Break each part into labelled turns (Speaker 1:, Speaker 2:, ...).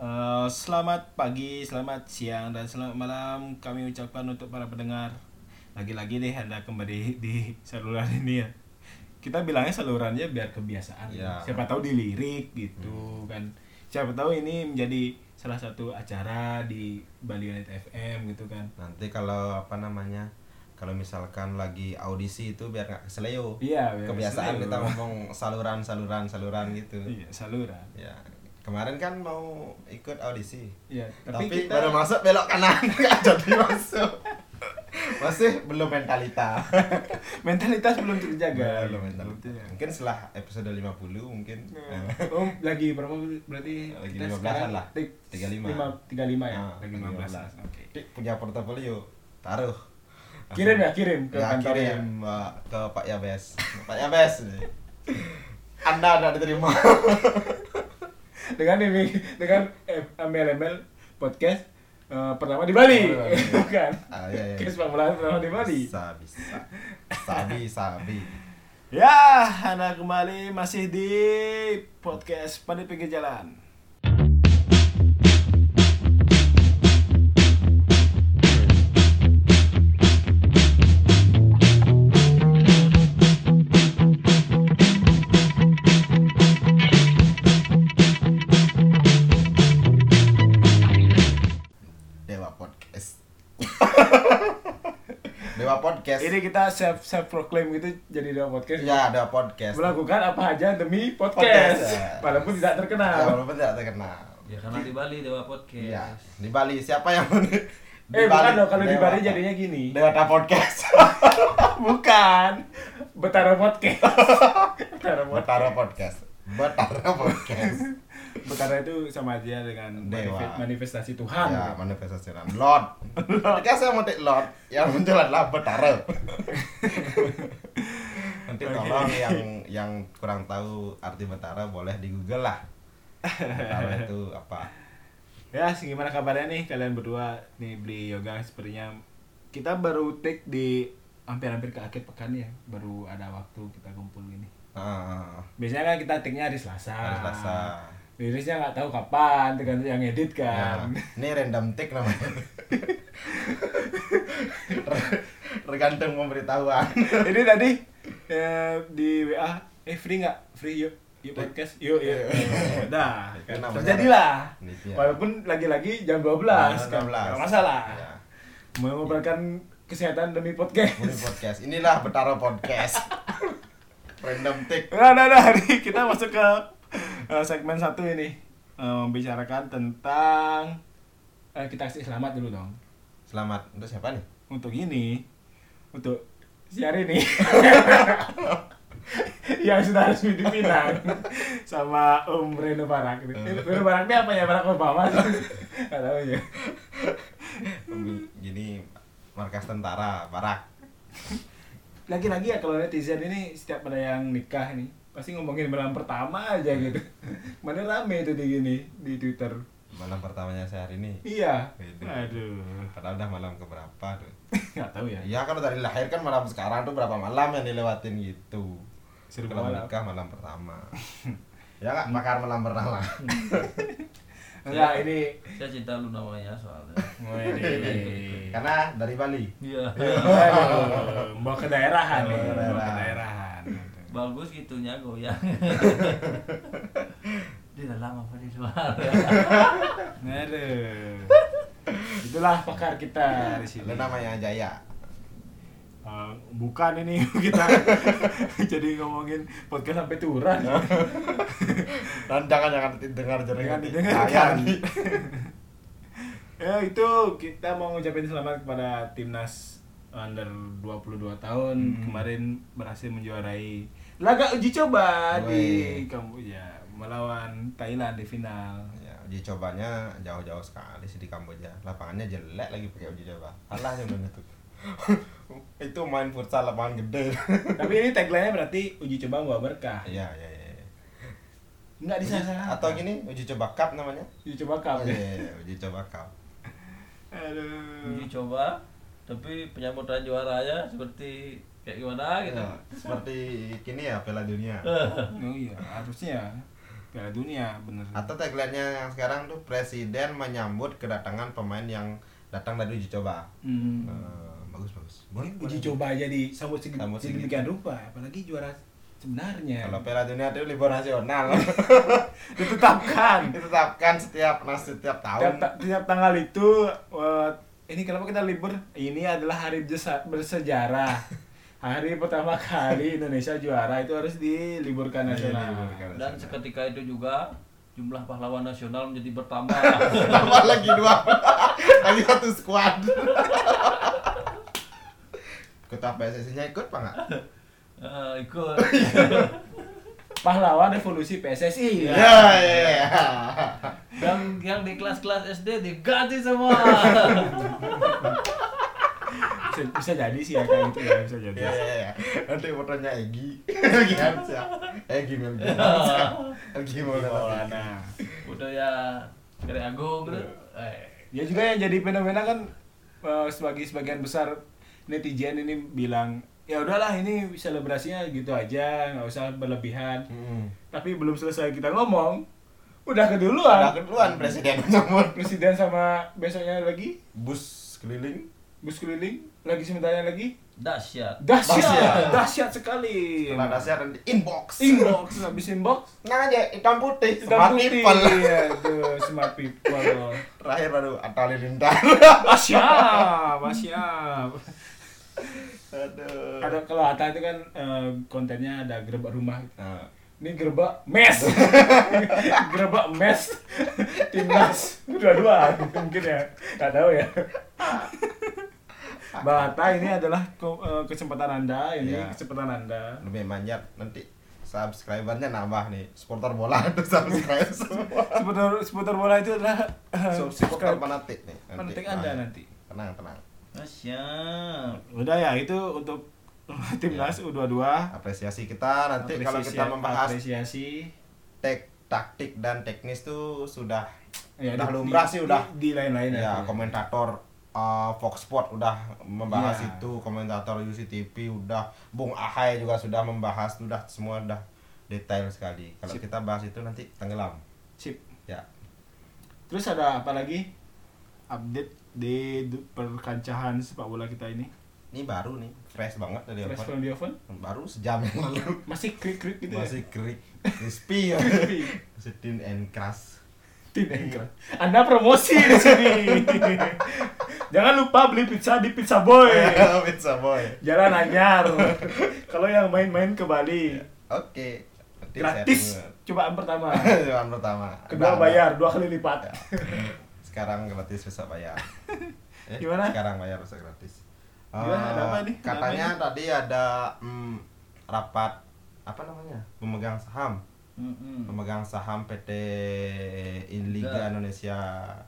Speaker 1: Eh, selamat pagi, selamat siang, dan selamat malam kami ucapkan untuk para pendengar. Lagi-lagi deh Anda kembali di saluran ini ya. Kita bilangnya salurannya biar kebiasaan.
Speaker 2: Ya. Hmm.
Speaker 1: Siapa tahu dilirik gitu kan. Siapa tahu ini menjadi salah satu acara di Bali Unit FM gitu kan.
Speaker 2: Nanti kalau apa namanya? Kalau misalkan lagi audisi itu biar nggak keseleo.
Speaker 1: Iya, biar
Speaker 2: Kebiasaan
Speaker 1: keseleo.
Speaker 2: kita ngomong saluran-saluran saluran gitu.
Speaker 1: Iya, saluran.
Speaker 2: Ya. Kemarin kan mau ikut audisi.
Speaker 1: Iya,
Speaker 2: Tapi,
Speaker 1: tapi, kita
Speaker 2: baru masuk belok kanan nggak jadi masuk. Masih belum mentalitas.
Speaker 1: mentalitas belum terjaga. Gitu ya.
Speaker 2: belum mentalitas.
Speaker 1: Belum
Speaker 2: Mungkin setelah episode 50 mungkin.
Speaker 1: Oh, lagi berapa berarti
Speaker 2: Nah, Lagi
Speaker 1: kita
Speaker 2: 15-an
Speaker 1: sekarang
Speaker 2: lah.
Speaker 1: tik-
Speaker 2: 35.
Speaker 1: lima- 35 ya.
Speaker 2: Ah,
Speaker 1: lagi 15. Oke.
Speaker 2: Punya portofolio. Taruh.
Speaker 1: Kirim ya, kirim ke
Speaker 2: Ya,
Speaker 1: kantor ya.
Speaker 2: kirim Mbak, ke Pak Yabes. Pak Yabes nih. Anda tidak diterima.
Speaker 1: Dengan ini dengan eh, embel-embel podcast eh, pertama di Bali.
Speaker 2: Oh, iya.
Speaker 1: Bukan.
Speaker 2: Ah, iya, iya.
Speaker 1: Kes pemulahan pertama di Bali.
Speaker 2: Bisa, bisa. Sabi, sabi.
Speaker 1: Ya, Anda kembali masih di podcast Pandit Pinggir Jalan.
Speaker 2: Dewa podcast. Dewa podcast.
Speaker 1: Ini kita self self proclaim gitu jadi dua podcast.
Speaker 2: ya ada podcast.
Speaker 1: Melakukan apa aja demi
Speaker 2: Podcast,
Speaker 1: podcast.
Speaker 2: ya.
Speaker 1: Walaupun tidak
Speaker 2: Ya,
Speaker 1: terkenal.
Speaker 2: walaupun tidak terkenal.
Speaker 3: Ya karena di Bali Dewa Podcast.
Speaker 2: Iya, di Bali siapa yang di
Speaker 1: Eh, bukan
Speaker 2: Bali,
Speaker 1: dong kalau di
Speaker 2: Dewa.
Speaker 1: Bali jadinya gini.
Speaker 2: Dewa podcast.
Speaker 1: Bukan. Betara podcast. Betara podcast.
Speaker 2: Betara podcast. Betara podcast.
Speaker 1: Betara itu sama aja dengan
Speaker 2: Dewa.
Speaker 1: manif- manifestasi Tuhan.
Speaker 2: ya, manifestasi dalam Lord. Ketika saya mau take Lord, yang muncul adalah Betara. Nanti
Speaker 1: Oke.
Speaker 2: tolong yang yang kurang tahu arti Betara boleh di Google lah. Betara itu apa?
Speaker 1: Ya, gimana kabarnya nih kalian berdua nih beli yoga sepertinya kita baru take di hampir-hampir ke akhir pekan ya, baru ada waktu kita kumpul gini.
Speaker 2: Ah,
Speaker 1: Biasanya kan kita take-nya hari Selasa.
Speaker 2: Hari Selasa.
Speaker 1: Rilisnya nggak tahu kapan, tergantung yang edit
Speaker 2: ya.
Speaker 1: kan.
Speaker 2: Ini random take namanya. Tergantung pemberitahuan.
Speaker 1: Ini tadi eh, di WA, eh free nggak? Free yuk, yuk podcast, yuk yuk. Nah,
Speaker 2: Itu namanya-
Speaker 1: terjadilah.
Speaker 2: Iya.
Speaker 1: Walaupun lagi-lagi jam 12, kan?
Speaker 2: 12.
Speaker 1: Nggak masalah.
Speaker 2: Iya.
Speaker 1: Mengobarkan kesehatan Iya. demi podcast.
Speaker 2: Ini podcast. Inilah Betara podcast. random take.
Speaker 1: Nah, nah, nah, hari kita masuk ke eh, segmen satu ini Eh, membicarakan tentang eh, kita kasih selamat dulu dong
Speaker 2: Selamat untuk siapa nih?
Speaker 1: untuk ini untuk siar ini yang sudah resmi dipinang sama Om Reno Barak Reno Barak ini apa ya Barak Obama nggak tahu ya
Speaker 2: Gini markas tentara, barak.
Speaker 1: lagi-lagi ya kalau netizen ini setiap ada yang nikah nih pasti ngomongin malam pertama aja gitu mana rame itu di gini di Twitter
Speaker 2: Malam pertamanya saya hari ini.
Speaker 1: iya
Speaker 2: Gitu.
Speaker 1: aduh
Speaker 2: Padahal udah malam keberapa tuh.
Speaker 1: nggak tahu ya
Speaker 2: Ya kalau dari lahir kan malam sekarang tuh berapa malam yang dilewatin gitu.
Speaker 1: Seribu
Speaker 2: Kalau
Speaker 1: malam.
Speaker 2: menikah malam pertama. ya nggak bakar malam pertama.
Speaker 1: enggak ini
Speaker 3: Saya cinta lu namanya soalnya.
Speaker 1: Oh,
Speaker 2: Iya, Karena dari Bali.
Speaker 3: Iya.
Speaker 1: Ya. Aduh, mau ke daerahan nih,
Speaker 2: Mau ke
Speaker 1: mau ke
Speaker 2: daerahan.
Speaker 1: daerahan.
Speaker 3: Bagus gitunya goyang. Dia udah lama pada luar.
Speaker 1: Aduh. Itulah pakar kita di sini.
Speaker 2: Lu namanya Jaya.
Speaker 1: Eh, bukan ini kita jadi ngomongin podcast sampai turun.
Speaker 2: Dan jangan jangan dengar
Speaker 1: Jangan
Speaker 2: jaringan
Speaker 1: didengarkan. ya itu kita mau ngucapin selamat kepada timnas under 22 tahun
Speaker 2: Hmm.
Speaker 1: kemarin berhasil menjuarai laga uji coba di
Speaker 2: Weh.
Speaker 1: Kamboja melawan Thailand di final.
Speaker 2: Ya, uji cobanya jauh-jauh sekali sih di Kamboja. Lapangannya jelek lagi pakai uji coba. Alah yang bener tuh. itu main futsal lapangan gede.
Speaker 1: Tapi ini tagline-nya berarti uji coba membawa berkah.
Speaker 2: Iya, iya, iya.
Speaker 1: Enggak
Speaker 2: Uji-
Speaker 1: disana
Speaker 2: Atau gini, uji coba cup namanya.
Speaker 1: uji coba cup.
Speaker 2: Oh, iya, iya, uji coba cup.
Speaker 1: Aduh.
Speaker 3: Uji coba tapi penyambutan juaranya seperti
Speaker 2: Eh,
Speaker 3: kayak gimana gitu.
Speaker 2: Ya, seperti kini ya Piala Dunia.
Speaker 1: Oh iya, harusnya. Piala Dunia bener.
Speaker 2: Atau tagline-nya yang sekarang tuh presiden menyambut kedatangan pemain yang datang dari uji coba.
Speaker 1: Hmm.
Speaker 2: Eh, bagus bagus. Boleh
Speaker 1: Uji
Speaker 2: boleh.
Speaker 1: coba aja disambut segi-
Speaker 2: Sambut segi-
Speaker 1: sedemikian rupa, apalagi juara sebenarnya.
Speaker 2: Kalau Piala Dunia itu libur nasional.
Speaker 1: Ditetapkan
Speaker 2: Ditetapkan setiap nah,
Speaker 1: tiap,
Speaker 2: setiap tahun.
Speaker 1: ta- tiap tanggal itu eh, ini kenapa kita libur? Ini adalah hari jesa- bersejarah. Hari pertama kali Indonesia juara itu harus diliburkan
Speaker 2: Iya,
Speaker 1: nasional.
Speaker 2: diliburkan.
Speaker 3: Dan seketika itu juga jumlah pahlawan nasional menjadi bertambah.
Speaker 2: Tambah lagi dua. lagi satu squad. Ketua PSSI-nya ikut apa enggak?
Speaker 3: Eh, ikut.
Speaker 1: Pahlawan revolusi PSSI.
Speaker 2: Ya, ya, ya.
Speaker 3: yang yang di kelas-kelas SD diganti semua.
Speaker 1: Bisa, bisa jadi sih ya kayak gitu ya, bisa jadi.
Speaker 2: Ya, ya, ya. Nanti fotonya Egi. Egi Hansa. Egi Melgiansa. Egi Maulana.
Speaker 1: Maulana.
Speaker 3: Udah ya Kere Agung gitu. Eh,
Speaker 1: Ya juga yang jadi fenomena kan eh, sebagai sebagian besar netizen ini bilang ya udahlah ini selebrasinya gitu aja nggak usah berlebihan.
Speaker 2: Hmm.
Speaker 1: Tapi belum selesai kita ngomong udah
Speaker 2: Udah
Speaker 1: keduluan
Speaker 2: keduluan presiden menyambut.
Speaker 1: presiden sama besoknya lagi
Speaker 2: Bus keliling.
Speaker 1: bus keliling lagi sementaranya lagi
Speaker 3: dahsyat.
Speaker 1: dahsyat
Speaker 2: Dahsyat.
Speaker 1: dahsyat sekali.
Speaker 2: Setelah dahsyat nanti inbox.
Speaker 1: Inbox habis inbox
Speaker 2: Nah aja hitam putih.
Speaker 1: hitam
Speaker 2: Smart
Speaker 1: putih.
Speaker 2: people.
Speaker 1: Iya, tuh, smart people.
Speaker 2: Terakhir baru Atali Lintar.
Speaker 1: Ah, siap, ah, siap.
Speaker 2: Aduh.
Speaker 1: Ada kalau Hatta itu kan eh, kontennya ada gerbak rumah.
Speaker 2: Nah,
Speaker 1: Ini gerbak mes. gerbak mes timnas dua-dua mungkin ya. Gak tahu ya. Bang Hatta ini adalah ko- eh, kesempatan Anda, ini
Speaker 2: Iya.
Speaker 1: kesempatan Anda.
Speaker 2: lebih manjat nanti subscribernya nambah nih supporter bola itu subscribe semua
Speaker 1: Seputar seputar bola itu adalah eh,
Speaker 2: Sub- supporter fanatik nih Nah,
Speaker 1: Fanatik Anda nanti.
Speaker 2: tenang tenang
Speaker 3: Ah, Dahsyat.
Speaker 1: Udah ya, itu untuk timnas U22.
Speaker 2: apresiasi kita Iya. nanti kalau kita
Speaker 1: Apresiasi-
Speaker 2: membahas
Speaker 1: apresiasi
Speaker 2: tek taktik dan teknis tuh sudah udah
Speaker 1: Ya, Iya, di-
Speaker 2: lumrah
Speaker 1: di-
Speaker 2: sih udah
Speaker 1: di, iya. di lain-lain aja.
Speaker 2: ya komentator uh, Fox Sport udah membahas
Speaker 1: Iya.
Speaker 2: itu komentator UCTV udah Bung Ahai juga sudah membahas udah semua udah detail sekali kalau
Speaker 1: Sip.
Speaker 2: kita bahas itu nanti tenggelam
Speaker 1: Sip.
Speaker 2: ya
Speaker 1: Terus ada apa lagi update di du- perkancahan sepak bola kita ini?
Speaker 2: ini baru nih fresh banget dari
Speaker 1: Fresh
Speaker 2: oven
Speaker 1: from the oven?
Speaker 2: baru sejam yang lalu
Speaker 1: Masih krik-krik gitu
Speaker 2: masih
Speaker 1: ya?
Speaker 2: krik crispy ya
Speaker 1: Crispy.
Speaker 2: Masih thin and crust
Speaker 1: Tin Engkel. Anda promosi di sini. Jangan lupa beli pizza di Pizza Boy.
Speaker 2: pizza boy
Speaker 1: Jalan Anyar. Kalau yang main-main ke Bali,
Speaker 2: oke nanti
Speaker 1: gratis.
Speaker 2: sharing.
Speaker 1: Cobaan pertama.
Speaker 2: Cobaan pertama
Speaker 1: Kedua
Speaker 2: Nah,
Speaker 1: bayar dua kali lipat.
Speaker 2: sekarang gratis besok bayar Eh,
Speaker 1: Gimana?
Speaker 2: sekarang bayar besok gratis
Speaker 1: Gimana? Ada apa
Speaker 2: Eh,
Speaker 1: nih? Ada
Speaker 2: katanya
Speaker 1: apa
Speaker 2: tadi ada mm, rapat apa namanya pemegang saham
Speaker 3: Mm-mm.
Speaker 2: pemegang saham PT Liga
Speaker 3: Liga.
Speaker 2: Indonesia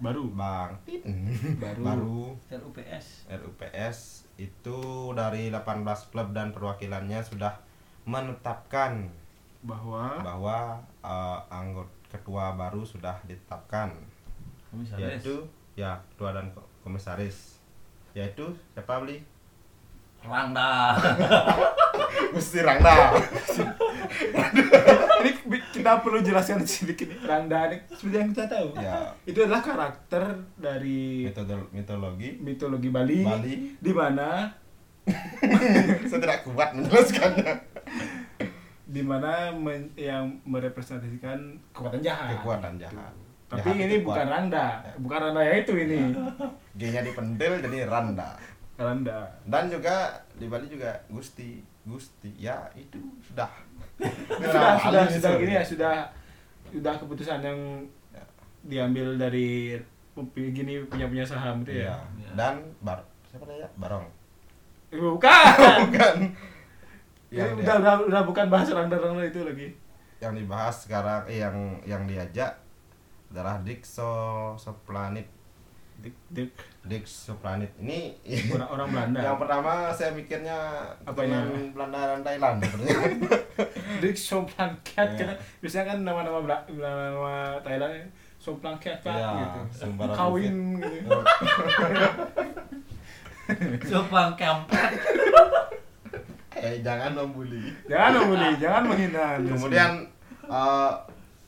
Speaker 1: Baru.
Speaker 2: Bang Tin.
Speaker 1: Baru.
Speaker 2: baru
Speaker 3: LUPS.
Speaker 2: RUPS itu dari 18 klub dan perwakilannya sudah menetapkan
Speaker 1: Bahwa
Speaker 2: bahwa eh, anggota ketua baru sudah ditetapkan
Speaker 3: Komisaris.
Speaker 2: yaitu ya ketua dan ko- komisaris yaitu siapa beli
Speaker 3: Rangda.
Speaker 2: Gusti Rangda
Speaker 1: ini bi- kita perlu jelaskan sedikit nih. Randa ini seperti yang kita tahu.
Speaker 2: ya
Speaker 1: Itu adalah karakter dari
Speaker 2: metode mitologi
Speaker 1: mitologi Bali,
Speaker 2: Bali.
Speaker 1: di mana
Speaker 2: saya tidak kuat menjelaskannya
Speaker 1: di mana men- yang merepresentasikan kekuatan jahat.
Speaker 2: kekuatan jahat
Speaker 1: Ah. Tapi ini bukan Randa, bukan Randa ya itu ini.
Speaker 2: G-nya dipentil jadi Randa
Speaker 1: Randa.
Speaker 2: dan juga di Bali juga Gusti Gusti ya itu sudah
Speaker 1: Sudah sudah
Speaker 2: Nah, Bali
Speaker 1: sudah
Speaker 2: itu.
Speaker 1: gini ya, sudah sudah keputusan yang
Speaker 2: Ya.
Speaker 1: diambil dari pempi- gini punya punya saham itu
Speaker 2: Iya.
Speaker 1: ya.
Speaker 3: Iya.
Speaker 2: dan bar siapa namanya Barong
Speaker 1: Eh, Bukan.
Speaker 2: bukan
Speaker 1: Ini
Speaker 2: ya, yang dia-
Speaker 1: udah, udah, udah bukan bahasa Randa-Randa itu lagi.
Speaker 2: yang dibahas sekarang eh, yang yang diajak adalah Dikso Soplanet
Speaker 1: Dik, dik.
Speaker 2: Dikso Planet ini
Speaker 1: Orang, orang Belanda.
Speaker 2: yang pertama saya mikirnya
Speaker 1: Apanya?
Speaker 2: teman Belanda dan Thailand sebenarnya.
Speaker 1: Dik Somplanket
Speaker 2: Iya.
Speaker 1: kita biasanya kan nama-nama Bra- nama-nama
Speaker 4: ya,
Speaker 1: Thailand Somplanket Pak
Speaker 2: Iya,
Speaker 1: gitu.
Speaker 2: sembarang
Speaker 1: Kawin gitu.
Speaker 3: Sopang kampret.
Speaker 2: eh jangan membuli
Speaker 1: Jangan membuli, jangan menghina. Anda
Speaker 2: kemudian eh,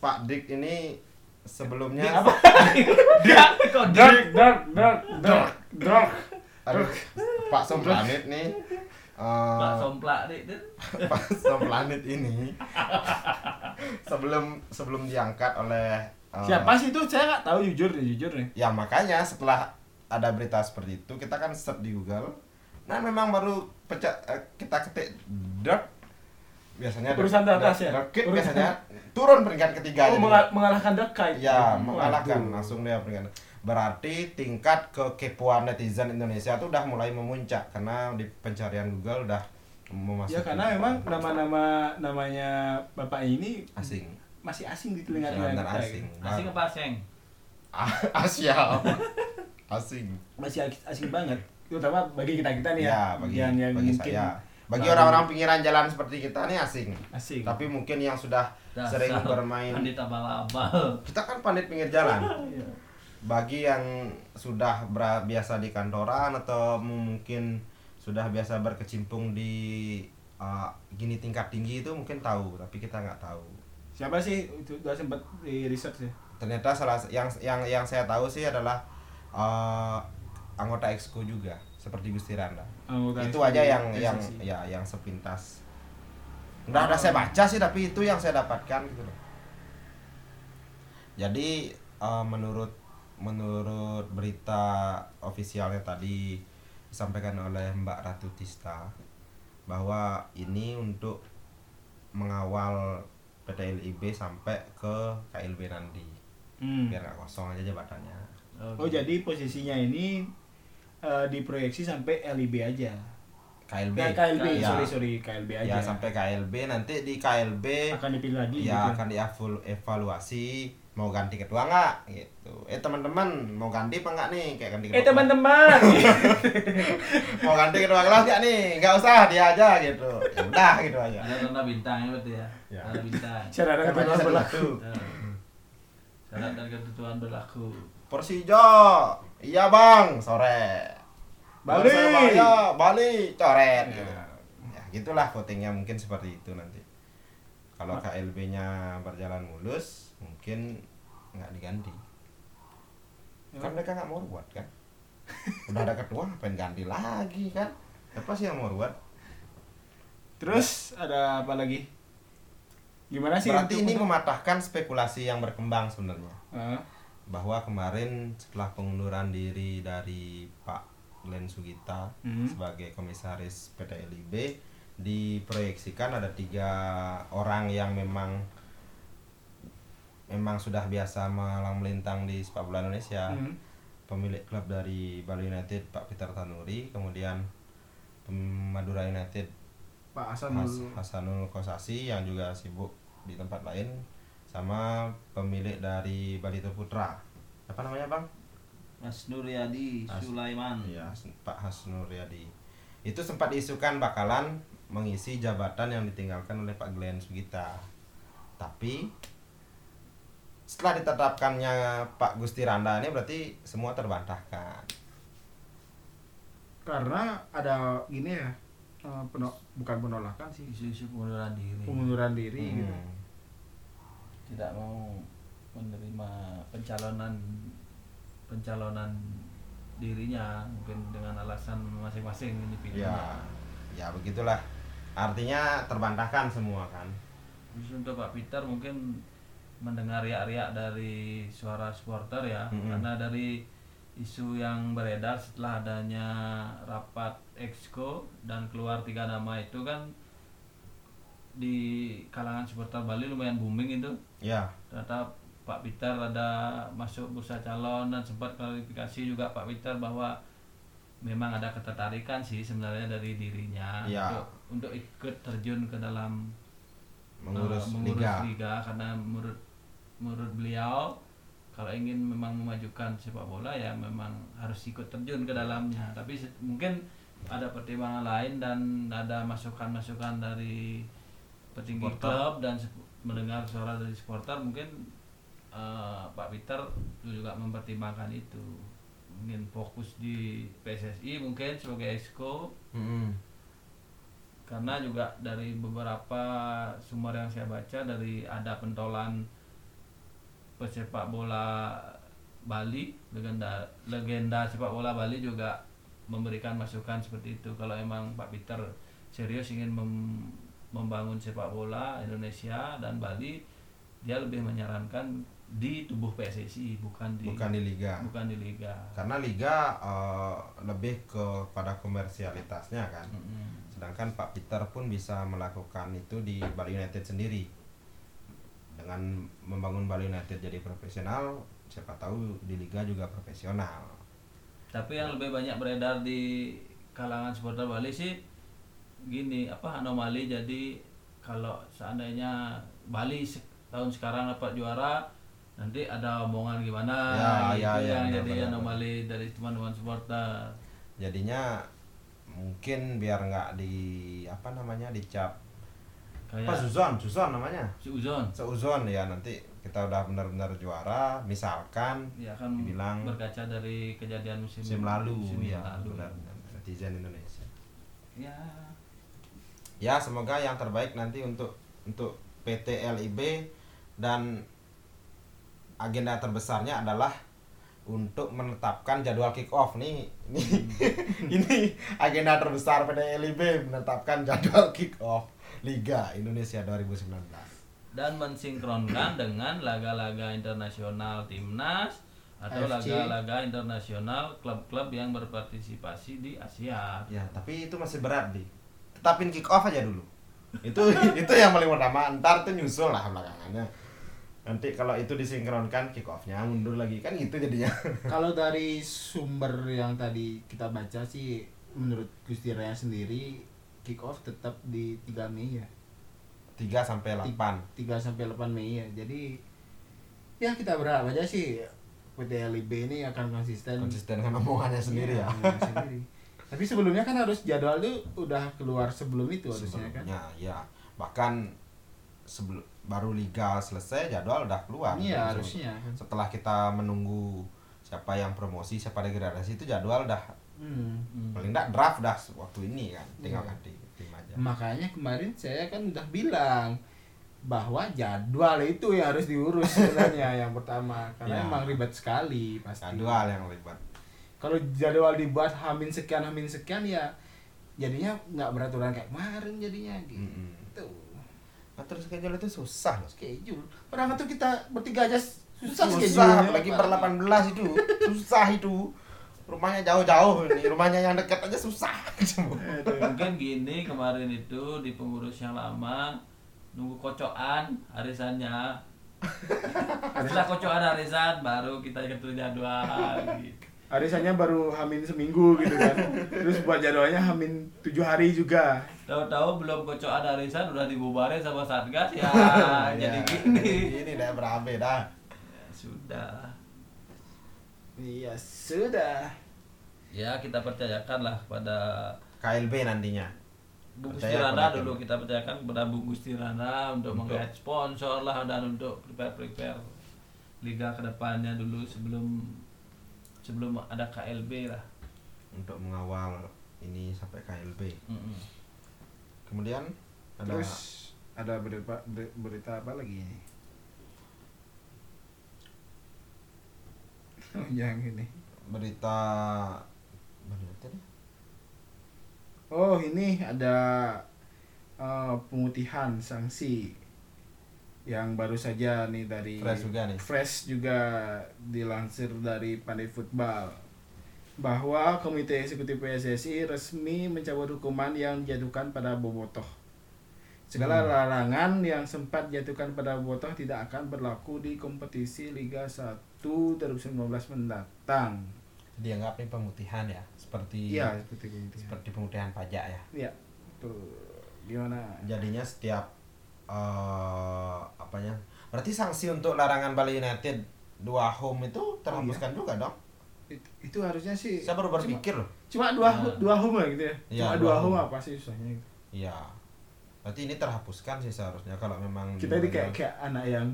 Speaker 2: Pak Dik ini
Speaker 4: Ya,
Speaker 2: sebelumnya
Speaker 3: Dia
Speaker 2: Oh,
Speaker 3: kok
Speaker 5: Dark, dark, dark, dark, dark.
Speaker 2: Aduh, Pak Somplanet nih eh,
Speaker 3: Pak somplak nih. Dit.
Speaker 2: Pak Somplanet ini sebelum sebelum diangkat oleh eh,
Speaker 4: Siapa sih itu? Saya nggak tahu jujur nih, jujur nih.
Speaker 2: Ya makanya setelah ada berita seperti itu kita kan search di Google. Nah memang baru pecah eh, kita ketik dark biasanya
Speaker 4: Urusan
Speaker 2: Dark-
Speaker 4: atas
Speaker 2: Dark-
Speaker 4: ya?
Speaker 2: Dark Kid
Speaker 4: Urusan-
Speaker 2: biasanya turun peringkat
Speaker 4: Oh,
Speaker 2: ketiga. jadi.
Speaker 4: mengal- Oh, mengalahkan Dekai.
Speaker 2: Ya mengalahkan langsung dia peringkat. Berarti tingkat kekepoan netizen Indonesia tuh udah mulai memuncak karena di pencarian Google udah memasuki.
Speaker 4: Ya karena memang nama-nama namanya bapak ini
Speaker 2: asing.
Speaker 4: masih asing di telinga telinga
Speaker 2: Benar
Speaker 4: kita. gitu.
Speaker 2: asing.
Speaker 3: Asing apa aseng?
Speaker 2: Asia. asing.
Speaker 4: Masih asing- asing banget. Terutama bagi kita kita nih ya.
Speaker 2: Ya, bagi,
Speaker 4: yang yang
Speaker 2: bagi
Speaker 4: mungkin
Speaker 2: saya. Bagi
Speaker 4: baru-
Speaker 2: orang-orang pinggiran jalan seperti kita nih asing.
Speaker 4: asing.
Speaker 2: Tapi mungkin yang sudah
Speaker 3: Dasar
Speaker 2: sering bermain.
Speaker 3: Pandita abal
Speaker 2: Kita kan pandit pinggir jalan.
Speaker 4: Iya.
Speaker 2: Bagi yang sudah bera- biasa di kantoran atau mungkin sudah biasa berkecimpung di uh, gini tingkat tinggi itu mungkin tahu, tapi kita nggak tahu.
Speaker 4: Siapa sih itu udah sempat di research ya?
Speaker 2: Ternyata salah yang yang yang saya tahu sih adalah uh, anggota exco juga seperti Gusti Randa.
Speaker 4: Anggota
Speaker 2: itu
Speaker 4: Exco
Speaker 2: aja yang
Speaker 4: SSC.
Speaker 2: yang ya yang sepintas nggak ada saya baca sih tapi itu yang saya dapatkan gitu loh jadi eh, menurut menurut berita ofisialnya tadi disampaikan oleh Mbak Ratu Tista bahwa ini untuk mengawal PT LIB sampai ke KLB nanti
Speaker 4: Hmm.
Speaker 2: biar nggak kosong aja jabatannya
Speaker 4: Oh jadi posisinya ini eh, diproyeksi sampai LIB aja.
Speaker 2: KLB
Speaker 4: Ya, KLB,
Speaker 2: ya,
Speaker 4: sorry sorry KLB Iya, aja.
Speaker 2: ya sampai KLB nanti di KLB
Speaker 4: akan dipilih lagi
Speaker 2: ya
Speaker 4: gitu.
Speaker 2: akan dievaluasi mau ganti ketua nggak gitu eh teman-teman mau ganti apa nggak nih kayak ganti ketua
Speaker 4: Eh teman-teman,
Speaker 2: mau ganti ketua kelas nggak nih nggak usah dia aja gitu ya udah gitu aja
Speaker 3: Ada tanda bintang ya berarti ya.
Speaker 2: Ya.
Speaker 3: Tanda bintang.
Speaker 4: syarat kebetulan
Speaker 2: Namanya
Speaker 4: berlaku.
Speaker 2: satu.
Speaker 3: Nah. Syarat dan ketentuan berlaku.
Speaker 2: Persija iya bang sore
Speaker 4: Bali.
Speaker 2: Persebaya, Bali Ya, coret
Speaker 4: Ya.
Speaker 2: gitu. ya gitulah votingnya mungkin seperti itu nanti kalau KLB-nya berjalan mulus mungkin nggak diganti
Speaker 4: Ya.
Speaker 2: kan mereka nggak mau ruwet kan udah ada ketua pengen ganti lagi kan apa sih yang mau ruwet
Speaker 4: Terus ada apa lagi? Gimana sih?
Speaker 2: berarti
Speaker 4: untuk-
Speaker 2: ini
Speaker 4: untuk-
Speaker 2: mematahkan spekulasi yang berkembang sebenarnya
Speaker 4: Ah,
Speaker 2: bahwa kemarin setelah pengunduran diri dari Pak Len Sugita
Speaker 4: Hmm.
Speaker 2: sebagai komisaris PT LIB diproyeksikan ada tiga orang yang memang memang sudah biasa malang melintang di sepak bola Indonesia
Speaker 4: hmm.
Speaker 2: pemilik klub dari Bali United Pak Peter Tanuri kemudian pem- Madura United
Speaker 4: Pak Hasan
Speaker 2: Has-
Speaker 4: dulu.
Speaker 2: Hasanul Kosasi yang juga sibuk di tempat lain sama pemilik dari Bali Putra apa namanya bang?
Speaker 3: Mas Nuryadi
Speaker 2: Mas-
Speaker 3: Sulaiman.
Speaker 2: Iya Pak Hasnur Yadi itu sempat diisukan bakalan mengisi jabatan yang ditinggalkan oleh Pak Glenn Sugita tapi setelah ditetapkannya Pak Gusti Randa ini berarti semua terbantahkan
Speaker 4: Karena ada gini ya, eh, peno- bukan penolakan sih,
Speaker 3: Isu-isu pengunduran
Speaker 2: Iya.
Speaker 3: diri.
Speaker 4: pengunduran diri
Speaker 2: Hmm.
Speaker 4: gitu.
Speaker 3: Tidak mau menerima pencalonan pencalonan dirinya mungkin dengan alasan masing-masing ini pilihan.
Speaker 2: ya ya begitulah artinya terbantahkan semua kan
Speaker 3: Terus untuk Pak Peter mungkin mendengar riak-riak dari suara supporter ya,
Speaker 2: Mm-mm.
Speaker 3: karena dari isu yang beredar setelah adanya rapat exco dan keluar tiga nama itu kan di kalangan supporter Bali lumayan booming itu.
Speaker 2: ya
Speaker 3: Ternyata Pak Peter ada masuk bursa calon dan sempat klarifikasi juga Pak Peter bahwa memang ada ketertarikan sih sebenarnya dari dirinya
Speaker 2: Ya.
Speaker 3: untuk, untuk ikut terjun ke dalam
Speaker 2: Nah, mengurus,
Speaker 3: eh,
Speaker 2: liga
Speaker 3: karena menurut menurut beliau kalau ingin memang memajukan sepak bola ya memang harus ikut terjun ke dalamnya tapi se- mungkin ada pertimbangan lain dan ada masukan-masukan dari petinggi klub dan sep- mendengar suara dari supporter mungkin eh, Pak Peter juga mempertimbangkan itu mungkin fokus di PSSI mungkin sebagai exco
Speaker 2: Mm-mm.
Speaker 3: karena juga dari beberapa sumber yang saya baca dari ada pentolan pesepak bola Bali legenda legenda sepak bola Bali juga memberikan masukan seperti itu kalau emang Pak Peter serius ingin mem- membangun sepak bola Indonesia dan Bali dia lebih menyarankan di tubuh PSSI bukan di
Speaker 2: bukan di liga
Speaker 3: bukan di liga
Speaker 2: karena liga eh, lebih kepada komersialitasnya kan
Speaker 3: Mm-mm.
Speaker 2: sedangkan Pak Peter pun bisa melakukan itu di Bali United sendiri dengan membangun Bali United jadi profesional siapa tahu di liga juga profesional
Speaker 3: Tapi yang lebih banyak beredar di kalangan supporter Bali sih gini apa anomali jadi kalau seandainya Bali se- tahun sekarang dapat juara nanti ada omongan gimana
Speaker 2: Ya, ya,
Speaker 3: gitu
Speaker 2: ya,
Speaker 3: yang
Speaker 2: benar,
Speaker 3: jadi
Speaker 2: benar,
Speaker 3: anomali dari teman-teman supporter.
Speaker 2: jadinya mungkin biar nggak di apa namanya dicap apa
Speaker 3: Kayak
Speaker 2: Suzon Suzon namanya
Speaker 3: si Uzon
Speaker 2: seuzon ya nanti kita udah benar-benar juara misalkan
Speaker 3: ya kan
Speaker 2: Dibilang-
Speaker 3: berkaca dari kejadian musim,
Speaker 2: musim lalu
Speaker 3: musim
Speaker 2: ya
Speaker 3: lalu.
Speaker 2: benar benar. netizen Indonesia
Speaker 3: Ya,
Speaker 2: ya semoga yang terbaik nanti untuk untuk PT LIB dan agenda terbesarnya adalah untuk menetapkan jadwal kick off nih ini, Hmm. ini agenda terbesar PT LIB menetapkan jadwal kick off Liga Indonesia 2019
Speaker 3: dan mensinkronkan dengan laga-laga internasional timnas atau
Speaker 2: AFC.
Speaker 3: laga-laga internasional klub-klub yang berpartisipasi di Asia.
Speaker 2: ya tapi itu masih berat di tetapin kick off aja dulu itu itu yang paling pertama ntar tuh nyusul lah belakangannya nanti kalau itu disinkronkan kick offnya mundur lagi kan gitu jadinya
Speaker 1: Kalau dari sumber yang tadi kita baca sih menurut Gusti Raya sendiri kick off tetap di 3 Mei ya.
Speaker 2: 3 sampai 8
Speaker 1: 3 sampai 8 Mei ya. Jadi ya kita berharap aja sih PT LIB ini akan konsisten
Speaker 2: konsisten dengan omongannya sendiri ya.
Speaker 1: Iya, omongan sendiri. Tapi sebelumnya kan harus jadwal tuh udah keluar sebelum itu harusnya kan.
Speaker 2: Sebelumnya ya. Bahkan sebelum baru liga selesai jadwal udah keluar.
Speaker 1: Iya,
Speaker 2: Sebelum-
Speaker 1: harusnya.
Speaker 2: Setelah kita menunggu siapa yang promosi, siapa degradasi itu jadwal udah
Speaker 1: Hmm.
Speaker 3: Hmm.
Speaker 2: paling enggak draft dah waktu ini kan. Tinggal
Speaker 1: Iya.
Speaker 2: ganti tim aja.
Speaker 1: Makanya kemarin saya kan udah bilang bahwa jadwal itu yang harus diurus sebenarnya yang pertama karena
Speaker 2: Ya.
Speaker 1: emang ribet sekali pasti.
Speaker 2: Jadwal yang lebat.
Speaker 1: Kalau jadwal dibuat hamin sekian hamin sekian ya jadinya nggak beraturan kayak kemarin jadinya gitu.
Speaker 2: Mm-mm. Ngatur Nah, schedule itu susah loh.
Speaker 1: Schedule. Orang ngatur kita bertiga aja susah,
Speaker 2: susah
Speaker 1: schedule-nya.
Speaker 2: apalagi per 18 itu. Susah itu. Rumahnya jauh-jauh nih, rumahnya yang dekat aja susah.
Speaker 3: Nah,
Speaker 2: Iya,
Speaker 1: gitu ya.
Speaker 3: Mungkin gini kemarin itu di pengurus yang lama nunggu kocokan arisannya. Setelah kocokan arisan baru kita ketua jadwal. gitu.
Speaker 1: Arisannya baru hamin seminggu gitu kan. Terus buat jadwalnya hamin tujuh hari juga.
Speaker 3: Tahu-tahu belum kocokan arisan udah dibubarin sama satgas ya jadi
Speaker 2: Ya,
Speaker 3: gini.
Speaker 2: Ini dah berabe dah.
Speaker 3: Ya, Sudah.
Speaker 1: Iya sudah.
Speaker 3: Ya kita percayakanlah kepada
Speaker 2: KLB nantinya.
Speaker 3: Bu Gusti
Speaker 2: Percaya
Speaker 3: Rana
Speaker 2: kepada
Speaker 3: dulu kita percayakan kepada Bu Gusti Rana untuk
Speaker 2: Untuk-
Speaker 3: mengait sponsor lah dan untuk prepare prepare liga kedepannya dulu sebelum sebelum ada KLB lah.
Speaker 2: untuk mengawal ini sampai KLB.
Speaker 3: Mm-mm.
Speaker 2: Kemudian ada
Speaker 1: Terus ada berita, ber- berita apa lagi ini? Oh, yang ini.
Speaker 2: berita berita deh.
Speaker 1: Oh, ini ada eh, pemutihan sanksi yang baru saja nih dari
Speaker 2: Fresh juga nih.
Speaker 1: Fresh juga dilansir dari Pandai Football bahwa Komite Eksekutif PSSI resmi mencabut hukuman yang dijatuhkan pada Bobotoh. Segala
Speaker 2: Hmm.
Speaker 1: larangan yang sempat dijatuhkan pada Bobotoh tidak akan berlaku di kompetisi Liga 1 2019 mendatang.
Speaker 2: dianggap ini pemutihan ya, seperti
Speaker 1: Iya, seperti itu.
Speaker 2: seperti pemutihan pajak ya.
Speaker 1: Iya, tuh gimana?
Speaker 2: Jadinya setiap eh apanya? Berarti sanksi untuk larangan Bali United dua home itu terhapuskan juga dong.
Speaker 1: It- itu harusnya sih
Speaker 2: Saya baru berpikir loh.
Speaker 1: cuma dua
Speaker 3: Nah.
Speaker 1: dua home lah gitu ya
Speaker 2: Ah. Iya,
Speaker 1: cuma
Speaker 2: dua
Speaker 1: dua home
Speaker 2: home.
Speaker 1: apa sih susahnya gitu.
Speaker 2: Iya. Berarti ini terhapuskan sih seharusnya kalau memang
Speaker 1: kita ini kayak kayak anak yang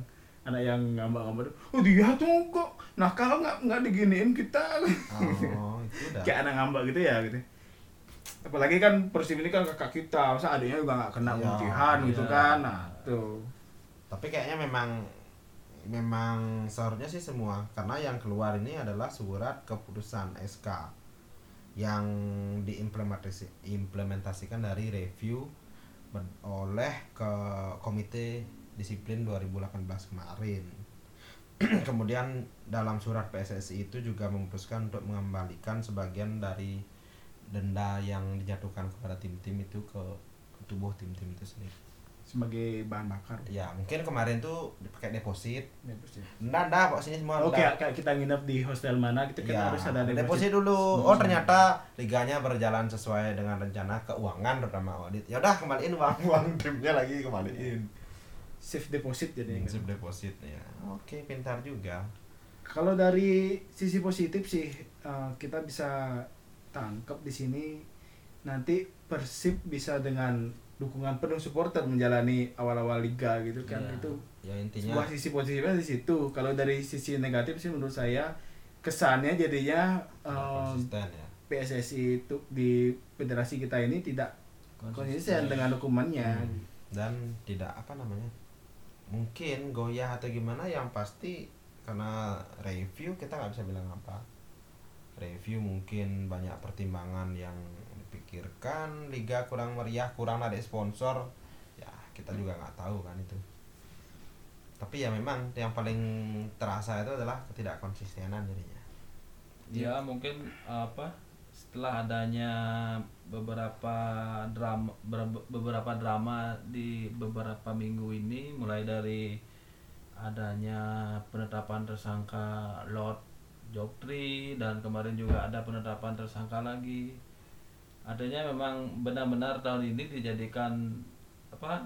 Speaker 1: anak yang ngambak-ngambak oh dia tuh kok nakal nggak nggak diginiin kita
Speaker 2: Oh, itu udah.
Speaker 1: kayak anak ngambak gitu ya gitu apalagi kan Persib ini kan kakak kita masa adiknya juga nggak kena
Speaker 2: Iya,
Speaker 1: untihan gitu
Speaker 3: iya.
Speaker 1: kan nah tuh
Speaker 2: tapi kayaknya memang memang seharusnya sih semua karena yang keluar ini adalah surat keputusan SK yang diimplementasi implementasikan dari review ber- oleh ke komite disiplin 2018 kemarin. Kemudian dalam surat PSSI itu juga memutuskan untuk mengembalikan sebagian dari denda yang dijatuhkan kepada tim-tim itu ke ke tubuh tim-tim itu sendiri.
Speaker 1: sebagai bahan bakar.
Speaker 2: Ya, mungkin kemarin tuh dipakai deposit.
Speaker 1: Ya, pasti.
Speaker 2: Nggak, nggak, kok sini semua
Speaker 1: Oke,
Speaker 2: nggak.
Speaker 1: Oh, kayak kita nginep di hostel mana kita kan
Speaker 2: Ya,
Speaker 1: harus ada Hmm.
Speaker 2: deposit dulu. Oh, ternyata liganya berjalan sesuai dengan rencana keuangan terutama audit. Ya udah kembaliin uang-uang timnya lagi kembaliin.
Speaker 1: Safe deposit gitu. jadi.
Speaker 2: Prinsip deposit ya. Oke, pintar juga.
Speaker 1: Kalau dari sisi positif sih eh, kita bisa tangkap di sini nanti Persib bisa dengan dukungan penuh supporter menjalani awal-awal liga gitu kan
Speaker 3: Iya.
Speaker 1: itu
Speaker 2: Ya intinya
Speaker 1: sebuah sisi positifnya di situ. Kalau dari sisi negatif sih menurut saya kesannya jadinya
Speaker 2: nggak
Speaker 1: eh,
Speaker 2: konsisten ya.
Speaker 1: PSSI itu di federasi kita ini tidak konsisten dengan hukumannya.
Speaker 2: Hmm. Dan tidak apa namanya? Mungkin goyah atau gimana yang pasti karena review kita nggak bisa bilang apa. Review mungkin banyak pertimbangan yang dipikirkan, liga kurang meriah, kurang ada sponsor. Ya, kita juga nggak tahu kan itu. Tapi ya memang yang paling terasa itu adalah ketidakkonsistenan jadinya.
Speaker 3: ya mungkin apa setelah adanya beberapa drama ber- beberapa drama di beberapa minggu ini mulai dari adanya penetapan tersangka Lord Joktri dan kemarin juga ada penetapan tersangka lagi artinya memang benar-benar tahun ini dijadikan apa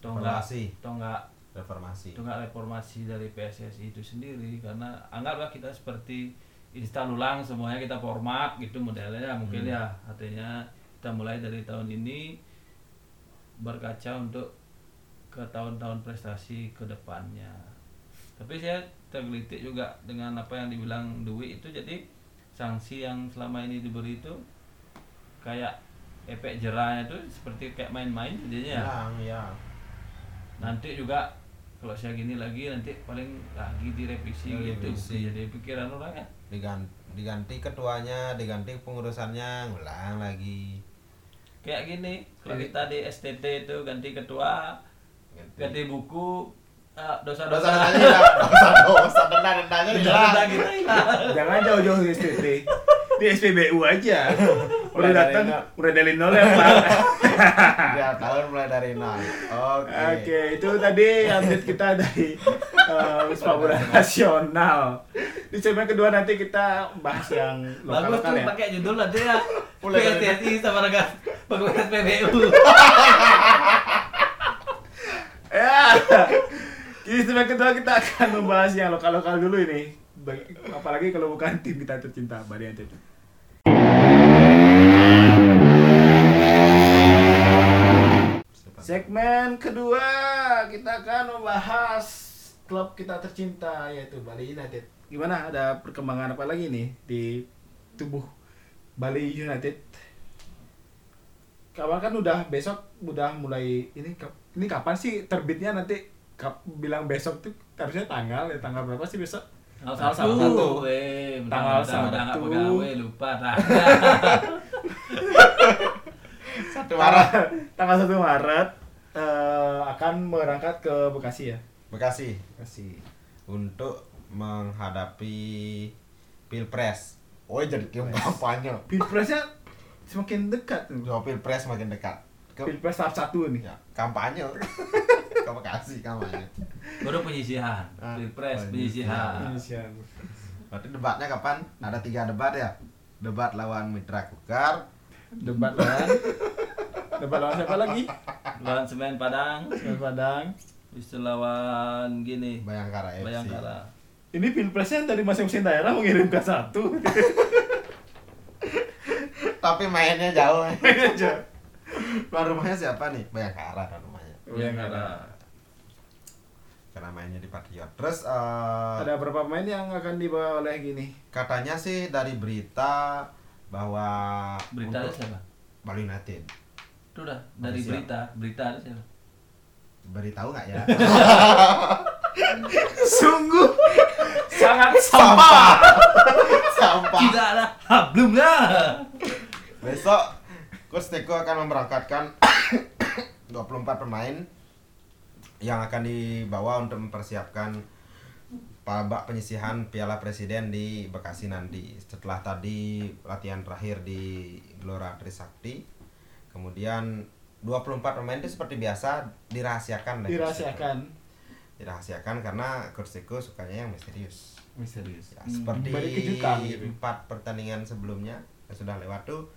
Speaker 3: tonggak
Speaker 2: Evaluasi.
Speaker 3: tonggak
Speaker 2: reformasi.
Speaker 3: Tunggak reformasi dari PSSI itu sendiri karena anggaplah kita seperti install ulang semuanya kita format gitu modelnya mungkin ya artinya kita mulai dari tahun ini berkaca untuk ke tahun-tahun prestasi ke depannya tapi saya tergelitik juga dengan apa yang dibilang Dwi itu jadi sanksi yang selama ini diberi itu kayak efek jerahnya itu seperti kayak main-main jadinya ya
Speaker 2: Hilang, ya.
Speaker 3: nanti juga kalau saya gini lagi nanti paling lagi direvisi gitu
Speaker 2: Direvisi.
Speaker 3: jadi pikiran orang ya
Speaker 2: Diganti, diganti ketuanya, diganti pengurusannya, ngulang lagi.
Speaker 3: kayak gini kalau kita di STT itu ganti ketua ganti buku ah,
Speaker 2: Dosa
Speaker 3: dosa-dosa
Speaker 2: dosanya hilang, dosa dosa denda dendanya hilang.
Speaker 3: dosa kita gitu, iya. hilang
Speaker 1: Jangan jauh-jauh di SPB. Di SPBU aja. Udah
Speaker 2: Udah ada
Speaker 1: datang,
Speaker 2: yang-
Speaker 1: udah dari nol ya, Pak.
Speaker 2: Ya tahun mulai dari nol. Oke.
Speaker 1: Oke, itu tadi update kita dari uh, sepak bola nasional. Di segmen kedua nanti kita bahas yang
Speaker 3: bagus
Speaker 1: lokal-lokal
Speaker 3: tuh
Speaker 1: ya.
Speaker 3: pakai judul nanti ya
Speaker 2: Mulai dari-
Speaker 3: PSSI sama dengan pegawai PBU
Speaker 1: Ya. Di segmen kedua kita akan membahas yang lokal-lokal dulu ini. Bagi- Apalagi kalau bukan tim kita tercinta, Barian Cecep. Segmen kedua kita akan membahas klub kita tercinta yaitu Bali United. Gimana ada perkembangan apa lagi nih di tubuh Bali United? Kawan kan udah besok udah mulai ini kap- ini kapan sih terbitnya nanti kap- bilang besok tuh harusnya tanggal ya tanggal berapa sih besok?
Speaker 3: tanggal
Speaker 1: Tanggal
Speaker 3: satu,
Speaker 1: satu.
Speaker 3: Weh,
Speaker 1: Tanggal
Speaker 3: mudah-mudahan udah nggak
Speaker 1: satu.
Speaker 3: pegawai lupa tanggal
Speaker 2: Satu arah.
Speaker 1: Tanggal, tanggal 1 Maret eh, akan berangkat ke Bekasi ya.
Speaker 2: Bekasi
Speaker 1: Bekasi.
Speaker 2: untuk menghadapi pilpres. Oh jadi kampanye.
Speaker 1: Pilpresnya semakin dekat. nih.
Speaker 2: Jauh pilpres makin dekat. Ke,
Speaker 1: Pilpres tahap satu nih.
Speaker 2: ya, kampanye. Ke Bekasi kampanye.
Speaker 3: baru penyisihan
Speaker 2: Ah,
Speaker 3: pilpres
Speaker 2: penyisihan.
Speaker 1: Iya,
Speaker 3: penyisihan
Speaker 2: Berarti debatnya kapan? Ada tiga debat ya? Debat lawan Mitra Kukar,
Speaker 1: Debat lawan Debat lawan siapa lagi?
Speaker 3: lawan semen Padang
Speaker 1: Semen Padang.
Speaker 3: Habis itu lawan gini
Speaker 2: Bayangkara FC.
Speaker 3: Bayangkara
Speaker 1: Ini pilpresnya dari masing-masing daerah mengirimkan satu.
Speaker 2: Tapi mainnya jauh.
Speaker 1: Ini aja.
Speaker 2: Tuan rumahnya siapa nih? Bayangkara tuan rumahnya.
Speaker 3: Bayangkara
Speaker 2: Karena mainnya di Patriot. Terus eh,
Speaker 1: Ada berapa pemain yang akan dibawa oleh gini?
Speaker 2: katanya sih dari berita bahwa
Speaker 3: Berita ada
Speaker 2: untuk
Speaker 3: siapa?
Speaker 2: Bali United.
Speaker 3: Itu dah dari
Speaker 2: Malaysia.
Speaker 3: berita Berita ada siapa?
Speaker 2: Beritahu nggak ya?
Speaker 4: Sungguh sangat
Speaker 2: Sampah. Sampah.
Speaker 3: Tidak ada ya. hablumnya.
Speaker 2: Besok Coach Teko akan memberangkatkan 24 pemain yang akan dibawa untuk mempersiapkan babak penyisihan Piala Presiden di Bekasi nanti. Setelah tadi latihan terakhir di Gelora Trisakti, kemudian 24 pemain itu seperti biasa dirahasiakan. oleh Coach Teko.
Speaker 1: dirahasiakan
Speaker 2: Dirahasiakan karena Coach Teko sukanya yang misterius.
Speaker 4: misterius.
Speaker 2: Ya, seperti
Speaker 1: beri kejutan gitu.
Speaker 2: empat pertandingan sebelumnya yang sudah lewat tuh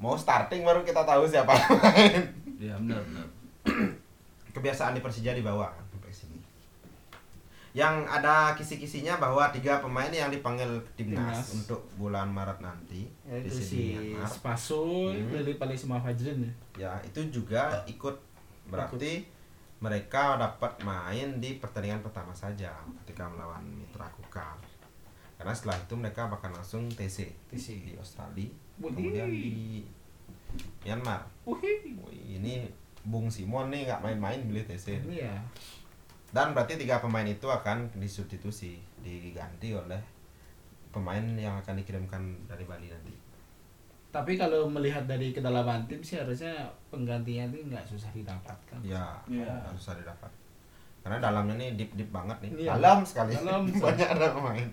Speaker 2: mau starting baru kita tahu siapa
Speaker 3: Ya benar benar.
Speaker 2: kebiasaan di Persija dibawa kan sampai sini yang ada kisi-kisinya bahwa tiga pemain yang dipanggil timnas,
Speaker 1: Timnas.
Speaker 2: untuk bulan Maret nanti di
Speaker 1: yaitu si
Speaker 2: Myanmar.
Speaker 1: Spasun
Speaker 2: Hmm.
Speaker 1: Lili Palisma Fajrin ya
Speaker 2: ya itu juga ikut berarti mereka dapat main di pertandingan pertama saja ketika melawan mitra kukar karena setelah itu mereka bakal langsung TC
Speaker 1: TC.
Speaker 2: di Australia
Speaker 1: Wih.
Speaker 2: kemudian di Myanmar
Speaker 1: Wih.
Speaker 2: Wih, ini Bung Simon nih nggak main-main beli TC
Speaker 1: Iya.
Speaker 2: dan berarti tiga pemain itu akan disubstitusi diganti oleh pemain yang akan dikirimkan dari Bali nanti
Speaker 1: Tapi kalau melihat dari kedalaman tim sih harusnya penggantinya itu nggak susah didapatkan.
Speaker 2: ya
Speaker 3: Iya.
Speaker 2: harus ada dapat karena dalamnya nih deep deep banget nih
Speaker 1: Iya.
Speaker 2: dalam sekali
Speaker 1: Dalam
Speaker 2: banyak ada pemain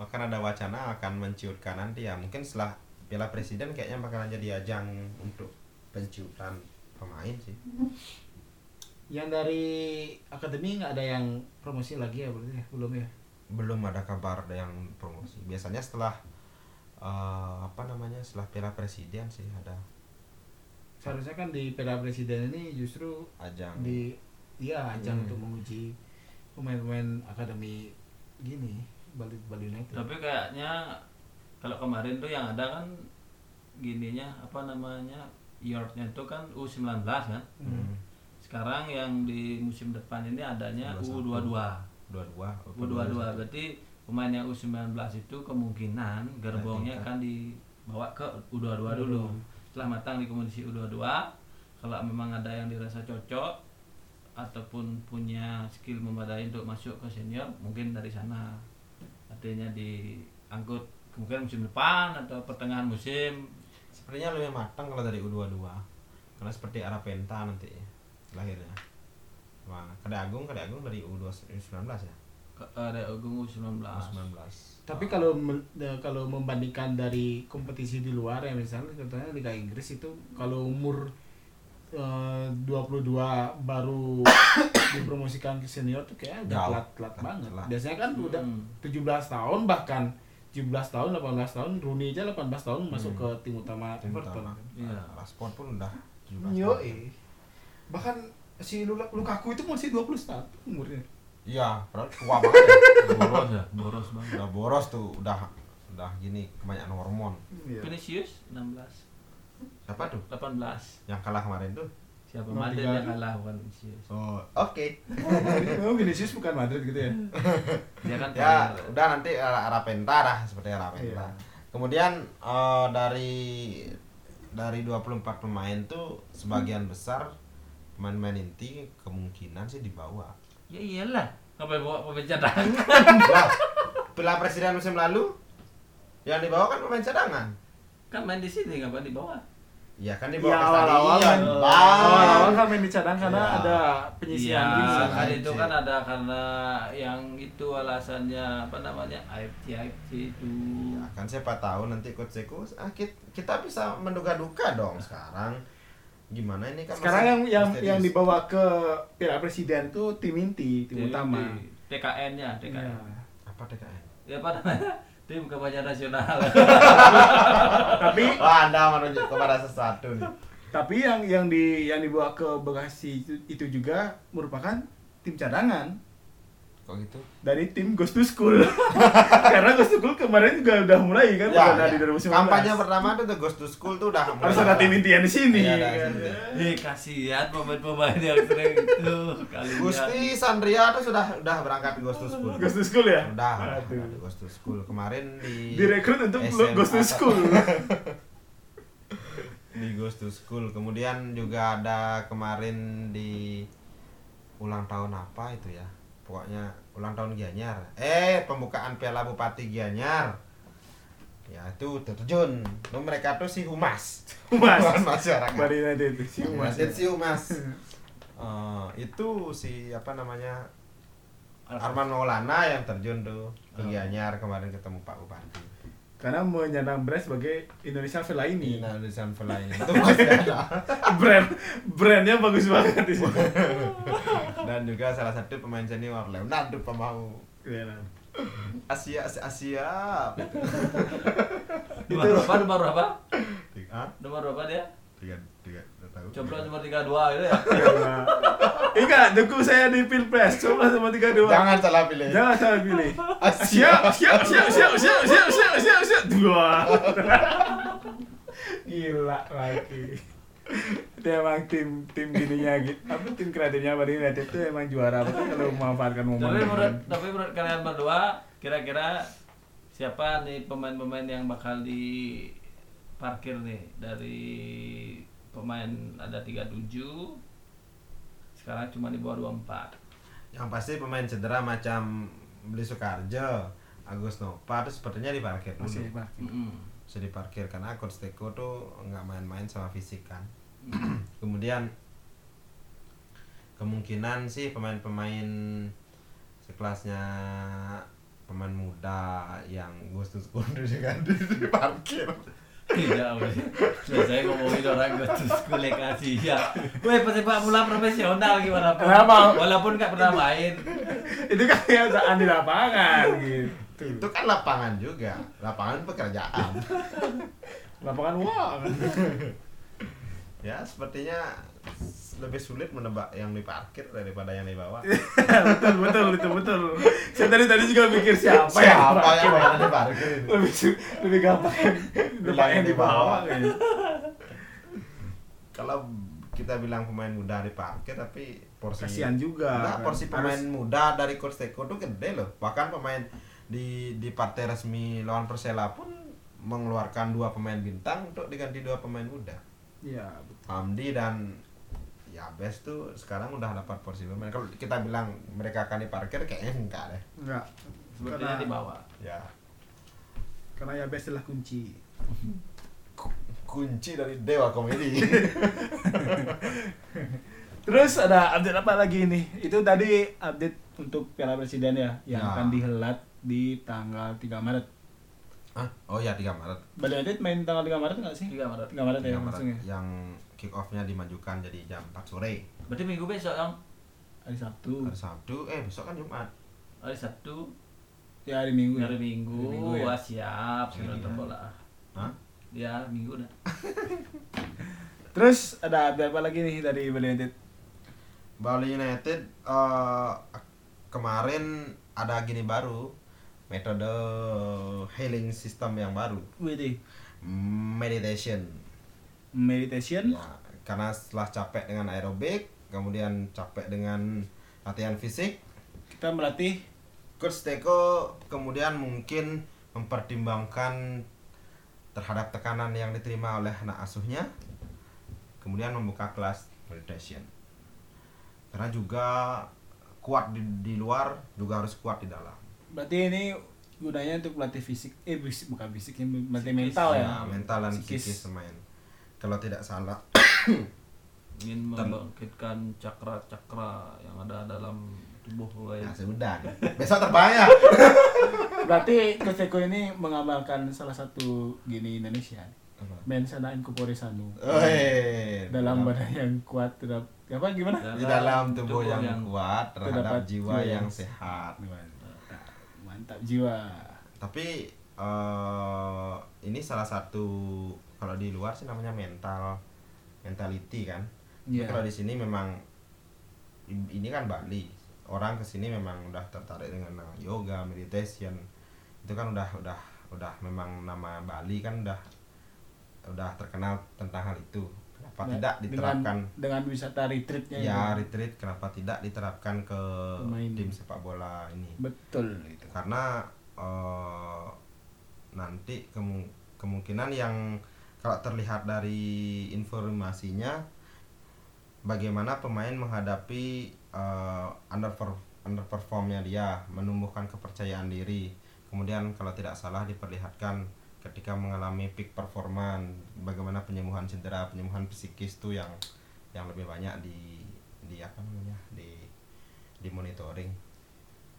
Speaker 2: bahkan ada wacana akan menciutkan nanti ya mungkin setelah piala presiden kayaknya bakalan jadi ajang untuk penciutan pemain sih
Speaker 1: Yang dari akademi nggak ada yang promosi lagi ya berarti ya? belum ya?
Speaker 2: belum ada kabar ada yang promosi biasanya setelah eh, apa namanya setelah piala presiden sih ada
Speaker 1: Seharusnya kan di Piala Presiden ini justru
Speaker 2: ajang
Speaker 1: di ya ajang
Speaker 2: Hmm.
Speaker 1: untuk menguji pemain-pemain akademi gini Bali Bali United.
Speaker 3: Tapi kayaknya kalau kemarin tuh yang ada kan gininya apa namanya yardnya itu kan U19 kan.
Speaker 2: Hmm,
Speaker 3: Sekarang yang di musim depan ini adanya
Speaker 2: 21.
Speaker 3: U22.
Speaker 2: dua-dua
Speaker 1: Oh,
Speaker 3: U22 berarti pemain yang U19 itu kemungkinan
Speaker 2: Naik
Speaker 3: gerbongnya
Speaker 2: tingkat.
Speaker 3: akan dibawa ke U22 dulu. Setelah matang di komodisi U22, kalau memang ada yang dirasa cocok ataupun punya skill memadai untuk masuk ke senior, mungkin dari sana artinya diangkut kemungkinan musim depan atau pertengahan musim
Speaker 2: Sepertinya lebih matang kalau dari U22 Karena seperti arah penta nanti ya, Lahirnya Wah, Kade Agung, Kade Agung dari U19 ya
Speaker 3: ke, eh, ada Agung U19.
Speaker 2: U19
Speaker 1: Tapi kalau men- eh, kalau membandingkan dari kompetisi di luar ya misalnya contohnya Liga Inggris itu kalau umur eh, 22 baru dipromosikan ke senior tuh kayak agak
Speaker 2: Jauh.
Speaker 1: telat-telat banget.
Speaker 2: Telat.
Speaker 1: Biasanya kan udah
Speaker 3: Hmm.
Speaker 1: 17 tahun bahkan 17 tahun, 18 tahun, Rooney aja 18 tahun masuk ke tim utama
Speaker 2: Hmm. Tim
Speaker 1: Everton.
Speaker 2: utama
Speaker 3: Iya.
Speaker 2: Rashford pun udah 17
Speaker 1: Yo,
Speaker 2: tahun.
Speaker 1: eh. Bahkan si Lula- Lukaku itu masih 20 tahun umurnya.
Speaker 2: Iya, padahal tua banget ya
Speaker 3: Boros ya, boros banget.
Speaker 2: Udah boros tuh, udah udah gini kebanyakan hormon
Speaker 1: Iya.
Speaker 3: Vinicius 16,
Speaker 2: Siapa tuh?
Speaker 3: 18.
Speaker 2: Yang kalah kemarin tuh
Speaker 3: Siapa
Speaker 1: Nomor
Speaker 3: Madrid
Speaker 1: tiga.
Speaker 3: yang kalah bukan Vinicius.
Speaker 2: Oh, oke
Speaker 1: Memang Oh, Vinicius bukan Madrid gitu ya.
Speaker 3: Dia kan
Speaker 2: Ya,
Speaker 3: player.
Speaker 2: udah nanti arah, arah penta lah seperti arah penta.
Speaker 1: Iya.
Speaker 2: Kemudian eh, dari dari 24 pemain tuh sebagian besar pemain-pemain inti kemungkinan sih dibawa.
Speaker 3: Ya iyalah, ngapain bawa pemain cadangan?
Speaker 2: Lah, Piala Presiden musim lalu yang dibawa kan pemain cadangan.
Speaker 3: kan main di sini ngapain di bawah?
Speaker 2: Iya kan dibawa
Speaker 1: Ya
Speaker 2: ke
Speaker 1: awal-awal
Speaker 2: stadion, Iya,
Speaker 1: main
Speaker 2: Bang.
Speaker 1: awal-awal kan main di cadang karena
Speaker 2: Iya.
Speaker 1: ada penyisian gitu.
Speaker 3: Iya,
Speaker 2: gini.
Speaker 3: kan itu
Speaker 2: AFC.
Speaker 3: kan ada karena yang itu alasannya apa namanya AFC AFC itu.
Speaker 1: Iya,
Speaker 2: Ya kan siapa tahu nanti coach Eko ah, kit- kita bisa menduga-duga dong sekarang. Gimana ini kan
Speaker 1: Sekarang
Speaker 2: masih
Speaker 1: yang yang yang
Speaker 2: misterius.
Speaker 1: dibawa ke Piala Presiden tuh tim inti, tim utama. Iya.
Speaker 2: kan?
Speaker 3: TKN-nya, TKN.
Speaker 2: apa TKN?
Speaker 3: Ya apa namanya? Tim kampanye nasional.
Speaker 1: Tapi
Speaker 2: Wah, Anda merujuk kepada sesuatu nih.
Speaker 1: tapi yang yang di yang dibawa ke Bekasi itu, itu juga merupakan tim cadangan
Speaker 2: Kok gitu?
Speaker 1: dari tim Ghost to School. karena Ghost to School kemarin juga udah mulai kan
Speaker 2: Ya,
Speaker 1: perdana
Speaker 2: ya.
Speaker 1: di 2019.
Speaker 2: Kampanye pertama tuh The Ghost to School tuh udah
Speaker 1: harus ada tim intian di sini.
Speaker 2: Iya, ada
Speaker 1: kan.
Speaker 2: tim
Speaker 3: Eh kasihan pemain-pemain yang sering itu kali
Speaker 2: Gusti Sandria tuh sudah udah berangkat Ghost to
Speaker 1: Iya.
Speaker 2: School.
Speaker 1: Ghost to School ya?
Speaker 2: Udah, udah,
Speaker 1: Aduh.
Speaker 2: udah di Ghost to School kemarin di
Speaker 1: Direkrut untuk
Speaker 2: SMA
Speaker 1: Ghost to School.
Speaker 2: di Ghost to School. Kemudian juga ada kemarin di ulang tahun apa itu ya pokoknya ulang tahun Gianyar eh pembukaan Piala Bupati Gianyar ya itu terjun Itu mereka tuh si humas
Speaker 1: Humas.
Speaker 2: masyarakat
Speaker 1: Bari Iya, nanti itu si ya. Umas.
Speaker 2: Dan si humas Eh, itu si apa namanya Arman Maulana yang terjun tuh ke Gianyar kemarin ketemu Pak Bupati
Speaker 1: Karena menyandang brand sebagai Indonesia Fellaini.
Speaker 2: Ini tulisan Fly itu masih ada
Speaker 1: brand brandnya bagus banget di sini.
Speaker 2: dan juga salah satu pemain senior Leonardo Pamau
Speaker 1: Keren.
Speaker 2: Asia Asia gitu.
Speaker 3: Nomor berapa? Nomor berapa?
Speaker 2: tiga ah,
Speaker 3: Nomor berapa dia?
Speaker 2: tiga tiga nggak tahu
Speaker 3: Coba nomor 32 gitu ya.
Speaker 1: Keren. Ingat, dukung saya di Pilpres. Coba sama 32.
Speaker 2: jangan salah pilih
Speaker 1: Jangan salah pilih.
Speaker 2: Asia
Speaker 1: Siap, siap, siap, siap, siap, siap, siap, siap, siap. Dua. Gila lagi. Dia emang tim tim gininya gitu. Apa tim kreatifnya Bali United itu emang juara betul kalau memanfaatkan momen.
Speaker 3: tapi menurut tapi menurut kalian berdua kira-kira siapa nih pemain-pemain yang bakal di parkir nih dari pemain ada 37 sekarang cuma di bawah 24
Speaker 2: yang pasti pemain cedera macam Beli Sukarjo Agus Nova tuh sepertinya diparkir dulu
Speaker 1: Masih Pak.
Speaker 3: Mm-mm.
Speaker 2: bisa diparkir karena coach Teko tuh nggak main-main sama fisik kan
Speaker 1: Hmm.
Speaker 2: kemudian kemungkinan sih pemain-pemain sekelasnya pemain muda yang Gustus Kundu juga di- diparkir
Speaker 3: tidak boleh Cuma saya ngomongin orang gue terus gue ya gue pesepak bola profesional gimana pun
Speaker 1: Kenapa?
Speaker 3: walaupun nggak pernah main
Speaker 1: Itu kan kebiasaan di lapangan gitu.
Speaker 2: itu kan lapangan juga lapangan pekerjaan
Speaker 1: Lapangan uang.
Speaker 2: ya sepertinya s- lebih sulit menebak yang diparkir daripada yang dibawa
Speaker 1: betul, betul, betul, betul. Saya tadi tadi juga mikir siapa
Speaker 2: siapa
Speaker 1: yang
Speaker 2: ya? yang
Speaker 1: parkir.
Speaker 2: yang diparkir itu?
Speaker 1: lebih su- lebih gampang yang depan yang di bawah gitu. kayaknya.
Speaker 2: kalau kita bilang pemain muda diparkir tapi porsi
Speaker 1: Kasihan juga,
Speaker 2: Enggak,
Speaker 1: kan.
Speaker 2: porsi pemain
Speaker 1: Harus-
Speaker 2: muda dari coach Teko tuh gede loh bahkan pemain di di partai resmi lawan Persela pun mengeluarkan dua pemain bintang untuk diganti dua pemain muda
Speaker 1: Iya.
Speaker 2: Hamdi dan Yabes tuh sekarang udah dapat porsi pemain kalau kita bilang mereka akan diparkir kayaknya enggak deh
Speaker 1: Enggak.
Speaker 3: sepertinya
Speaker 1: Karena-
Speaker 3: di bawah
Speaker 2: ya
Speaker 1: Karena ya best adalah kunci.
Speaker 2: kunci dari dewa komedi
Speaker 1: Terus ada update apa lagi nih? Itu tadi update untuk Piala Presiden ya yang
Speaker 2: Ya.
Speaker 1: akan dihelat di tanggal 3 Maret.
Speaker 2: Hah? oh ya 3 Maret
Speaker 1: Bali United main tanggal 3 Maret nggak sih?
Speaker 3: 3 Maret
Speaker 1: 3 Maret
Speaker 2: 3
Speaker 1: ya
Speaker 2: Maret
Speaker 1: langsung ya.
Speaker 2: yang kick off-nya dimajukan jadi jam 4 sore
Speaker 3: berarti minggu besok dong
Speaker 1: Hari Sabtu.
Speaker 2: hari Sabtu eh besok kan Jumat
Speaker 3: hari Sabtu
Speaker 1: Ya hari Minggu. ya.
Speaker 3: hari Minggu,
Speaker 1: Hari Minggu ya.
Speaker 3: wah siap saya
Speaker 2: Iya.
Speaker 3: nonton bola
Speaker 2: Hah?
Speaker 3: ya minggu dah
Speaker 1: Terus ada update apa lagi nih dari Bali United?
Speaker 2: Bali United eh, kemarin ada gini baru metode healing system yang baru
Speaker 1: WD.
Speaker 2: meditation
Speaker 1: Meditation.
Speaker 2: ya karena setelah capek dengan aerobik kemudian capek dengan latihan fisik
Speaker 1: Kita melatih
Speaker 2: coach Teko kemudian mungkin mempertimbangkan terhadap tekanan yang diterima oleh anak asuhnya kemudian membuka kelas meditation karena juga kuat di, di luar juga harus kuat di dalam
Speaker 1: Berarti ini gunanya untuk melatih fisik, eh fisik- bukan fisik, ini melatih mental ya.
Speaker 2: Ya, mental dan
Speaker 1: Psikis.
Speaker 2: psikis, pemain kalau tidak salah
Speaker 3: ingin
Speaker 2: Ter-
Speaker 3: membangkitkan cakra-cakra yang ada dalam tubuh gue
Speaker 2: ya sudah besok terbayar
Speaker 1: Berarti Koseko ini mengamalkan salah satu gini Indonesia. Mensana Inkupore Sanu.
Speaker 2: Ya, Woi,
Speaker 1: Dalam badan yang kuat terhadap apa gimana?
Speaker 2: di dalam tubuh, yang, kuat terhadap
Speaker 1: terdapat
Speaker 2: jiwa
Speaker 1: jiwa
Speaker 2: yang
Speaker 1: yang
Speaker 2: sehat
Speaker 1: Mantap jiwa.
Speaker 2: tapi eh ini salah satu kalau di luar sih namanya mental mentality kan Tapi
Speaker 1: Iya.
Speaker 2: kalau di sini memang i- ini kan Bali orang kesini memang udah tertarik dengan yoga meditation itu kan udah udah udah memang nama Bali kan udah udah terkenal tentang hal itu kenapa
Speaker 1: Nah,
Speaker 2: tidak diterapkan
Speaker 1: dengan, dengan wisata retreatnya
Speaker 2: ya
Speaker 1: itu.
Speaker 2: retreat kenapa tidak diterapkan ke
Speaker 1: Pemain.
Speaker 2: tim sepak bola ini
Speaker 1: Betul itu.
Speaker 2: gitu. karena eh, nanti kemu- kemungkinan yang kalau terlihat dari informasinya bagaimana pemain menghadapi eh, underper- underperformnya dia, menumbuhkan kepercayaan diri. Kemudian kalau tidak salah diperlihatkan ketika mengalami peak performan, bagaimana penyembuhan cedera, penyembuhan psikis itu yang yang lebih banyak di di apa namanya di di monitoring.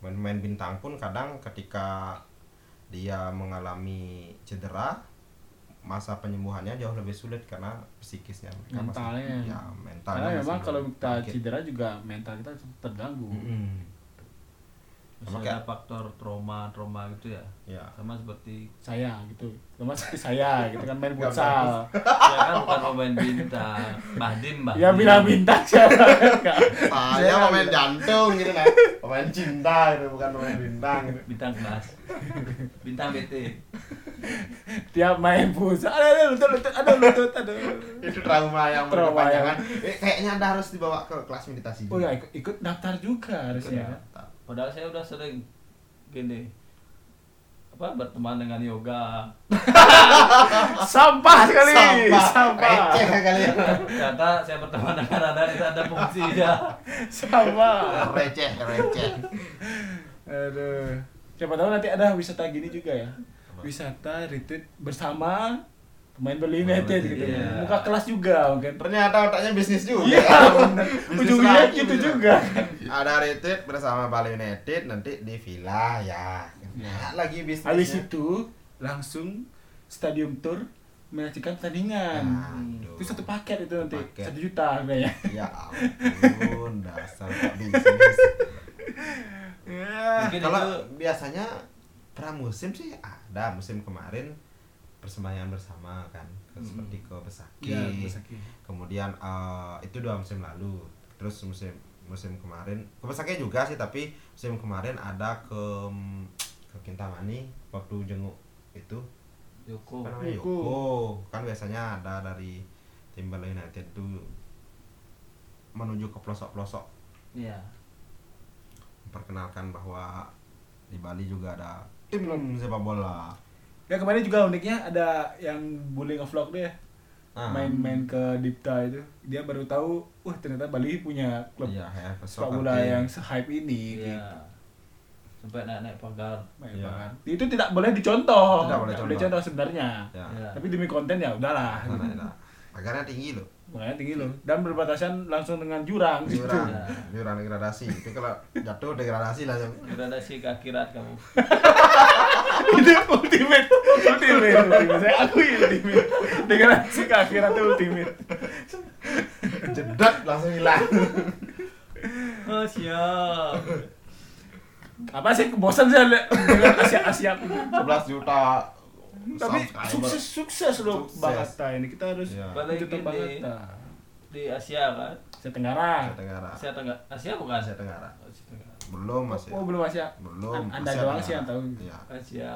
Speaker 2: Pemain bintang pun kadang ketika dia mengalami cedera masa penyembuhannya jauh lebih sulit karena psikisnya mereka
Speaker 1: Mentalnya.
Speaker 2: masih ya mentalnya
Speaker 1: Karena
Speaker 2: masih
Speaker 1: memang kalau kita
Speaker 2: bangkit.
Speaker 1: cedera juga mental kita terganggu.
Speaker 2: Mm-mm.
Speaker 3: Terus
Speaker 2: Sama
Speaker 3: ada
Speaker 2: kayak-
Speaker 3: faktor trauma trauma gitu ya
Speaker 2: ya
Speaker 3: sama seperti
Speaker 1: Saya gitu. Sama seperti saya gitu kan main futsal.
Speaker 3: ya kan bukan pemain bintang Bahdim Bahdim
Speaker 1: Ya bilang bintang siapa? Enggak.
Speaker 2: saya pemain jantung gitu nah pemain cinta gitu bukan pemain bintang gitu
Speaker 3: bintang kelas bintang BT
Speaker 1: Tiap main futsal ada lutut lutut ada lutut ada.
Speaker 2: itu trauma yang
Speaker 1: Trauma
Speaker 2: berkepanjangan Eh, kayaknya anda harus dibawa ke kelas meditasi
Speaker 1: Oh ya ikut, ikut daftar juga harusnya. kan?
Speaker 3: Padahal saya udah sering gini apa berteman dengan yoga.
Speaker 1: Sampah sekali.
Speaker 2: sampah
Speaker 1: Sampah.
Speaker 2: receh ya. kalian
Speaker 3: Ternyata saya berteman dengan anda itu ada ya. fungsinya.
Speaker 1: Sampah.
Speaker 2: receh receh
Speaker 1: Aduh. Siapa tahu nanti ada wisata gini juga ya. Wisata retweet bersama pemain Bali United gitu.
Speaker 3: Iya.
Speaker 1: Muka kelas juga mungkin.
Speaker 2: ternyata otaknya bisnis juga
Speaker 1: Iya, bener.
Speaker 2: Bisnis
Speaker 1: Ujungnya
Speaker 2: lagi
Speaker 1: gitu
Speaker 2: gitu.
Speaker 1: juga. kan.
Speaker 2: ada retweet bersama Bali United nanti di Villa ya Nah, lagi bisnis
Speaker 1: Habis itu langsung stadium tour menyaksikan pertandingan.
Speaker 2: Aduh.
Speaker 1: Itu satu paket itu nanti
Speaker 2: Paket.
Speaker 1: satu juta harganya.
Speaker 2: ya ampun dasar tak bisnis
Speaker 1: Ya.
Speaker 2: Iya.
Speaker 3: Mungkin itu
Speaker 2: kalau biasanya pramusim sih ada musim kemarin persembahyaan bersama kan seperti ke Besaki,
Speaker 1: Ya, Kiyosaki.
Speaker 2: kemudian eh, itu dua musim lalu terus musim musim kemarin ke Besaki juga sih tapi musim kemarin ada ke ke Kintamani waktu jenguk itu
Speaker 3: Oh, Yoko.
Speaker 2: apa namanya
Speaker 1: Yoko.
Speaker 2: Yoko kan biasanya ada dari tim Bali United itu menuju ke pelosok-pelosok
Speaker 3: Iya.
Speaker 2: memperkenalkan bahwa di Bali juga ada tim sepak bola.
Speaker 1: Ya kemarin juga uniknya ada yang bullying vlog dia.
Speaker 2: Ah.
Speaker 1: Main-main ke Dipta itu. Dia baru tahu, wah ternyata Bali punya klub
Speaker 2: Iya, ya,
Speaker 1: sepak
Speaker 2: pesok
Speaker 1: bola
Speaker 2: nanti.
Speaker 1: yang se-hype ini
Speaker 3: Iya.
Speaker 1: gitu.
Speaker 3: Sampai naik-naik pagar.
Speaker 1: Main
Speaker 2: Iya.
Speaker 1: banget. Itu tidak boleh dicontoh.
Speaker 2: Tidak boleh contoh.
Speaker 1: dicontoh sebenarnya.
Speaker 2: ya.
Speaker 3: Iya.
Speaker 1: Tapi demi konten ya udahlah.
Speaker 2: Nah, nah, nah. Agarnya tinggi loh.
Speaker 1: Makanya tinggi loh dan berbatasan langsung dengan jurang. gitu.
Speaker 2: Jurang, jurang degradasi. Itu kalau jatuh degradasi langsung.
Speaker 3: Gradasi ke akhirat kamu.
Speaker 1: itu ultimate, ultimate, ultimate. Saya akui ultimate. Dengan si akhirat itu ultimate.
Speaker 2: Jedat langsung hilang.
Speaker 3: Oh, siap.
Speaker 1: Apa sih bosan saya lihat dengan Asia Asia.
Speaker 2: 11 juta.
Speaker 1: Tapi
Speaker 2: subscriber.
Speaker 1: sukses sukses loh
Speaker 2: Sukses.
Speaker 1: Bang Atta ini kita harus
Speaker 2: Iya.
Speaker 1: bantu
Speaker 3: Apalagi
Speaker 1: Bang
Speaker 3: di-
Speaker 1: Atta.
Speaker 3: Di Asia kan?
Speaker 1: Asia Tenggara.
Speaker 2: Asia Tenggara.
Speaker 3: Asia Tenggara. Asia bukan
Speaker 2: Asia
Speaker 3: Asia.
Speaker 2: Tenggara.
Speaker 3: Asia Tenggara.
Speaker 2: Belum masih.
Speaker 1: Oh belum Asia.
Speaker 2: Belum.
Speaker 1: Anda
Speaker 2: Asia
Speaker 1: doang
Speaker 2: Tenggara.
Speaker 1: sih yang tahu.
Speaker 2: Iya.
Speaker 3: Asia.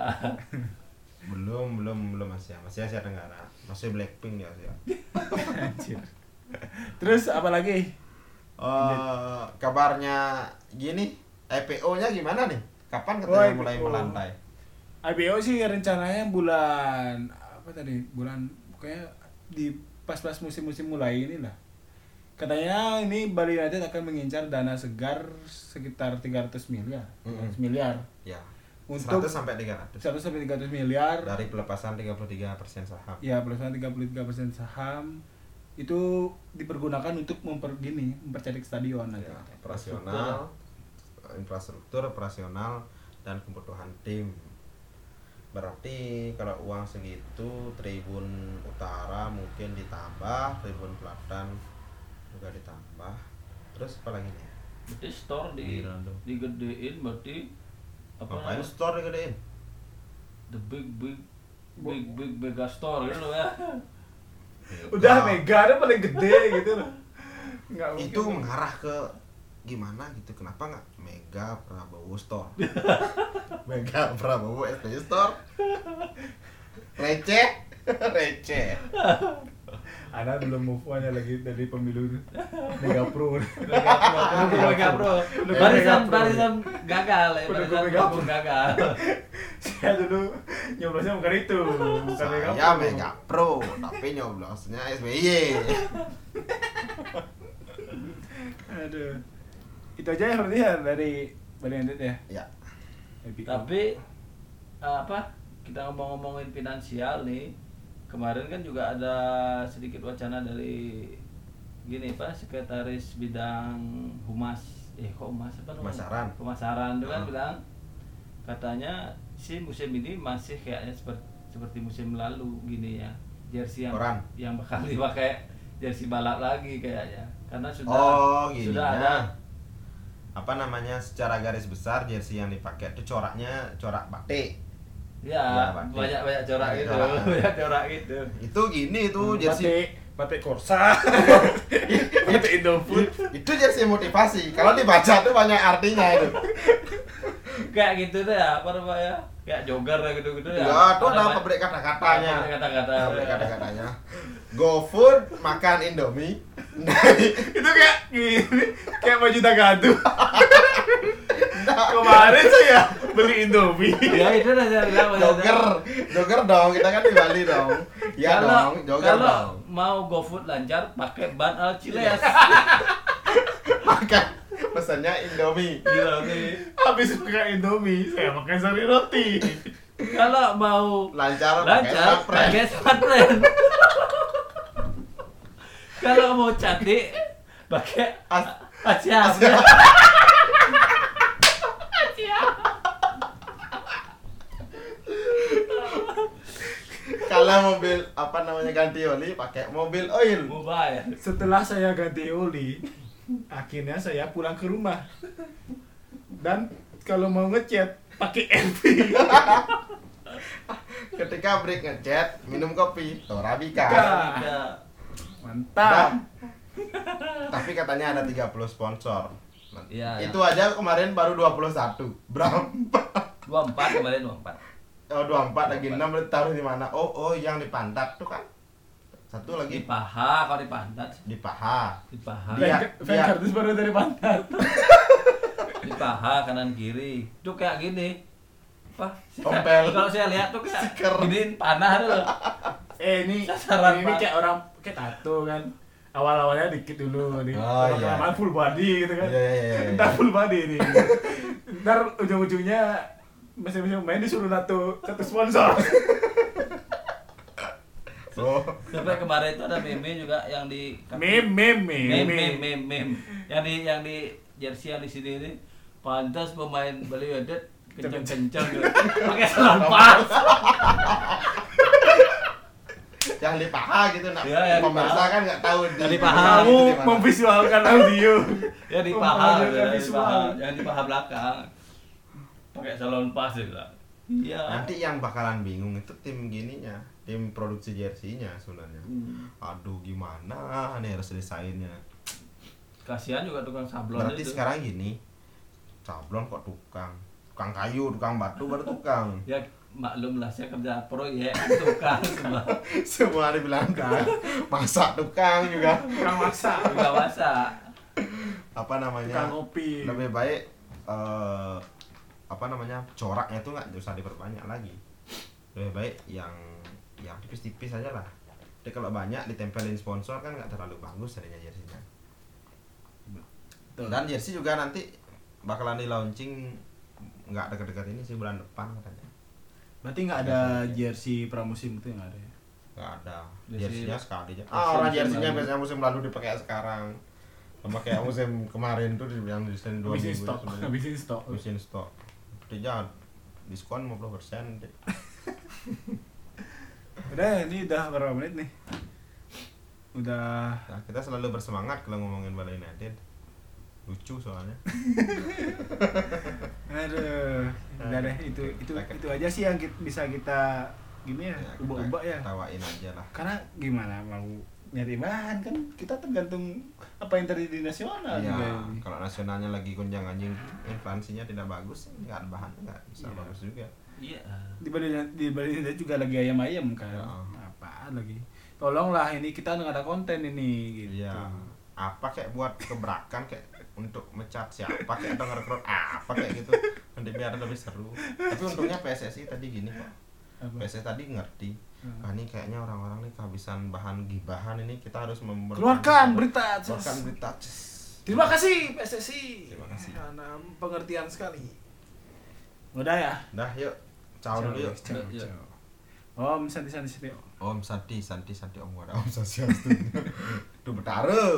Speaker 2: Belum, belum, belum Asia. Masih Asia Tenggara. Masih Blackpink ya Asia.
Speaker 1: Anjir. Terus apa lagi?
Speaker 2: Eh, kabarnya gini, IPO-nya gimana nih? Kapan
Speaker 1: Oh,
Speaker 2: katanya
Speaker 1: IPO.
Speaker 2: mulai melandai?
Speaker 1: IPO sih rencananya bulan apa tadi? Bulan pokoknya di pas-pas musim-musim mulai inilah. Katanya ini Bali United akan mengincar dana segar sekitar 300 miliar.
Speaker 2: Mm-mm.
Speaker 1: 300 miliar.
Speaker 2: Ya.
Speaker 1: Untuk
Speaker 2: 100 sampai Nah. 300.
Speaker 1: 100 sampai 300 miliar.
Speaker 2: Dari pelepasan 33% saham.
Speaker 1: Ya, perusahaan 33% saham itu dipergunakan untuk memper gini, mempercantik stadion nanti.
Speaker 2: Ya, operasional, infrastruktur operasional dan kebutuhan tim. Berarti kalau uang segitu Tribun Utara mungkin ditambah, Tribun Selatan juga ditambah. Terus apa lagi nih?
Speaker 3: Berarti store di digedein berarti apa
Speaker 2: Ngapain
Speaker 3: namanya?
Speaker 2: store digedein?
Speaker 3: the big big big big mega store gitu loh ya
Speaker 1: Udah
Speaker 2: Nah,
Speaker 1: mega, ada paling gede gitu loh. Nggak mungkin.
Speaker 2: itu mengarah ke gimana gitu kenapa nggak Mega Prabowo Store Mega Prabowo SBY Store receh receh
Speaker 1: Ana belum move on ya lagi dari pemilu Mega Pro.
Speaker 3: mega pro pendukung mega pro
Speaker 1: Pendukung
Speaker 3: barisan
Speaker 1: Mega Pro.
Speaker 3: barisan gagal ya
Speaker 1: Pendukung
Speaker 3: barisan
Speaker 1: Mega Pro.
Speaker 3: pendukung gagal
Speaker 1: Saya dulu nyoblosnya bukan itu, bukan Mega Pro.
Speaker 2: saya Mega Pro tapi nyoblosnya SBY
Speaker 1: Aduh. Itu aja ya berarti ya dari Bali United ya.
Speaker 2: ya
Speaker 1: Happy.
Speaker 3: Tapi eh, apa kita ngomong-ngomongin finansial nih kemarin kan juga ada sedikit wacana dari gini pak sekretaris bidang humas eh kok humas apa namanya?
Speaker 2: Pemasaran.
Speaker 3: pemasaran itu kan
Speaker 2: Hmm.
Speaker 3: bilang katanya si musim ini masih kayaknya seperti seperti musim lalu gini ya jersey yang
Speaker 2: Orang.
Speaker 3: yang bakal dipakai jersey balap lagi kayaknya karena sudah
Speaker 2: oh gini
Speaker 3: sudah ada
Speaker 2: apa namanya secara garis besar jersey yang dipakai itu coraknya corak batik
Speaker 3: ya,
Speaker 2: Ya, Pak.
Speaker 3: banyak banyak corak
Speaker 2: Banyak
Speaker 3: gitu
Speaker 2: corak.
Speaker 3: banyak corak gitu
Speaker 2: itu gini
Speaker 3: Hmm,
Speaker 2: tuh jersey
Speaker 1: Batik, batik Korsa. batik Indofood.
Speaker 2: itu jersey motivasi kalau dibaca tuh banyak artinya itu
Speaker 3: kayak gitu deh apa namanya kayak jogger lah gitu gitu
Speaker 2: ya tuh ada pabrik kata-katanya
Speaker 3: Pabrik kata-kata.
Speaker 2: pabrik kata-katanya go food makan indomie Nah,
Speaker 1: itu kayak gini, kayak baju tagadu.
Speaker 2: Nah.
Speaker 1: Kemarin saya beli Indomie.
Speaker 3: ya itu dah saya bilang maksudnya.
Speaker 2: Jogger, jogger dong, kita kan di Bali dong. Ya
Speaker 3: Kalau-
Speaker 2: dong, jogger
Speaker 3: kalau
Speaker 2: dong. Iya.
Speaker 3: mau GoFood lancar pakai ban al ciles
Speaker 2: Makan Kan, pesannya Indomie.
Speaker 3: gila nih
Speaker 1: Habis makan Indomie, saya makan sari roti.
Speaker 3: kalau mau
Speaker 2: Lancar,
Speaker 3: lancar
Speaker 2: pakai
Speaker 3: pakai sunbrand kalau mau cantik pakai
Speaker 2: As-
Speaker 3: aciam
Speaker 2: Kalau mobil apa namanya ganti oli pakai mobil oil.
Speaker 3: mobile
Speaker 1: Setelah saya ganti oli, akhirnya saya pulang ke rumah. Dan kalau mau ngechat pakai LV.
Speaker 2: Ketika break ngechat, minum kopi, Torabika.
Speaker 3: Nah,
Speaker 2: Nah,
Speaker 1: Mantap.
Speaker 2: tapi katanya ada 30 sponsor. Nah,
Speaker 3: Iya,
Speaker 2: Itu aja kemarin baru 21. Berapa?
Speaker 3: 24 kemarin 24
Speaker 2: Oh, 24 lagi 6 taruh di mana? Oh, oh yang di pantat tuh kan. Satu
Speaker 3: di
Speaker 2: lagi
Speaker 3: paha kalau di pantat
Speaker 2: di paha.
Speaker 3: di paha
Speaker 2: Dia-
Speaker 1: Fan- Fan
Speaker 2: dia-
Speaker 1: kartus baru dari pantat.
Speaker 3: di paha kanan kiri tuh kayak gini apa
Speaker 2: Tompel.
Speaker 3: kalau saya lihat tuh kayak
Speaker 2: Stiker.
Speaker 3: giniin panah tuh loh
Speaker 1: Eh ini
Speaker 3: Sasaran,
Speaker 1: ini
Speaker 3: Pak.
Speaker 1: kayak orang kayak tato kan. Awal-awalnya dikit dulu nih.
Speaker 2: Oh, iya.
Speaker 1: Lama-lama full body gitu kan.
Speaker 2: Iya, iya, iya, iya.
Speaker 1: Ntar full body nih. Ntar ujung-ujungnya masing-masing main disuruh tato satu sponsor.
Speaker 2: Oh.
Speaker 3: sampai kemarin itu ada meme juga yang di
Speaker 1: meme meme meme.
Speaker 3: meme meme meme, meme. yang di yang di jersey yang di sini ini pantas pemain Bali United kencang-kencang gitu. pakai selampas
Speaker 2: yang di paha gitu nak
Speaker 3: Iya, yang di
Speaker 2: pemirsa
Speaker 3: paha.
Speaker 2: kan nggak tahu
Speaker 3: Yang di
Speaker 2: itu di
Speaker 3: paha.
Speaker 1: Kamu
Speaker 2: mana.
Speaker 1: memvisualkan audio.
Speaker 3: ya di paha
Speaker 1: Mempengaruhi
Speaker 3: gitu, yang di paha
Speaker 1: visual.
Speaker 3: yang di paha belakang pakai salon pas gitu iya
Speaker 2: nanti yang bakalan bingung itu tim gininya tim produksi jersinya sebenarnya
Speaker 3: Hmm.
Speaker 2: aduh gimana nih harus desainnya
Speaker 3: kasihan juga tukang sablon
Speaker 2: berarti sekarang gini sablon kok tukang tukang kayu tukang batu baru tukang
Speaker 3: ya maklum lah saya kerja proyek tukang semua
Speaker 2: semua dibilang kan masak tukang juga
Speaker 1: Kurang maksa.
Speaker 3: juga masak
Speaker 2: apa namanya
Speaker 1: Tukang kopi.
Speaker 2: lebih baik eh apa namanya coraknya tuh nggak usah diperbanyak lagi lebih baik yang yang tipis-tipis aja lah jadi kalau banyak ditempelin sponsor kan nggak terlalu bagus adanya jersinya dan jersey juga nanti bakalan di launching nggak dekat-dekat ini sih bulan depan katanya
Speaker 1: Berarti nggak ada jersey pramusim itu nggak ada. ya?
Speaker 2: nggak ada
Speaker 3: Jersey-
Speaker 2: jersinya sekali aja
Speaker 3: musim
Speaker 2: ah orang jersinya
Speaker 3: lalu.
Speaker 2: biasanya musim lalu dipakai sekarang sama kayak musim kemarin tuh yang desain dua
Speaker 1: Habisin
Speaker 2: minggu ya,
Speaker 1: stok,
Speaker 2: sebelumnya.
Speaker 1: habisin stok.
Speaker 2: mesin stok kerja diskon 50 persen
Speaker 1: Udah, ini udah berapa menit nih? Udah
Speaker 2: nah, kita selalu bersemangat kalau ngomongin Bali United lucu soalnya
Speaker 1: Aduh, udah deh itu itu itu aja sih yang kita- bisa kita gini ya,
Speaker 2: kita
Speaker 1: ubah-ubah ya.
Speaker 2: tawain aja lah
Speaker 1: Karena gimana mau nyari bahan kan kita tergantung apa yang terjadi di nasional
Speaker 2: Iya,
Speaker 1: juga.
Speaker 2: kalau nasionalnya lagi gonjang anjing inflasinya tidak bagus eh, nggak ada bahan nggak bisa
Speaker 1: Iya.
Speaker 2: bagus juga
Speaker 3: iya
Speaker 1: Di Bali di Bali United juga lagi ayam-ayam kan.
Speaker 2: Ya.
Speaker 1: Apaan lagi? Tolonglah ini kita nggak ada konten ini gitu.
Speaker 2: iya apa kayak buat kebrakan kayak untuk mecat siapa kayak atau ngerekrut apa kayak gitu nanti biar lebih seru tapi untungnya PSSI tadi gini kok
Speaker 1: Apa?
Speaker 2: PSSI tadi ngerti
Speaker 1: Hmm.
Speaker 2: Nah, ini kayaknya orang-orang nih kehabisan bahan gibahan ini kita harus memper-
Speaker 1: Keluarkan berita.
Speaker 2: keluarkan
Speaker 1: Cus.
Speaker 2: berita Ces.
Speaker 1: Terima kasih PSSI.
Speaker 2: Terima kasih.
Speaker 1: Karena pengertian sekali.
Speaker 5: Udah ya?
Speaker 2: Dah Nah, yuk. Ciao dulu yuk.
Speaker 5: Ciao,
Speaker 1: Iya.
Speaker 3: Yuk, yuk.
Speaker 5: ciao. Om santai santai santai.
Speaker 2: Om Santi, Santi, Santi Om Wara, Om Sasiastu. Duh betaru.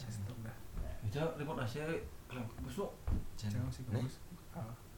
Speaker 5: Stop dah.
Speaker 3: Bisa report Asia, besok
Speaker 5: Ciao sih
Speaker 2: Nih.
Speaker 5: bagus. Ah.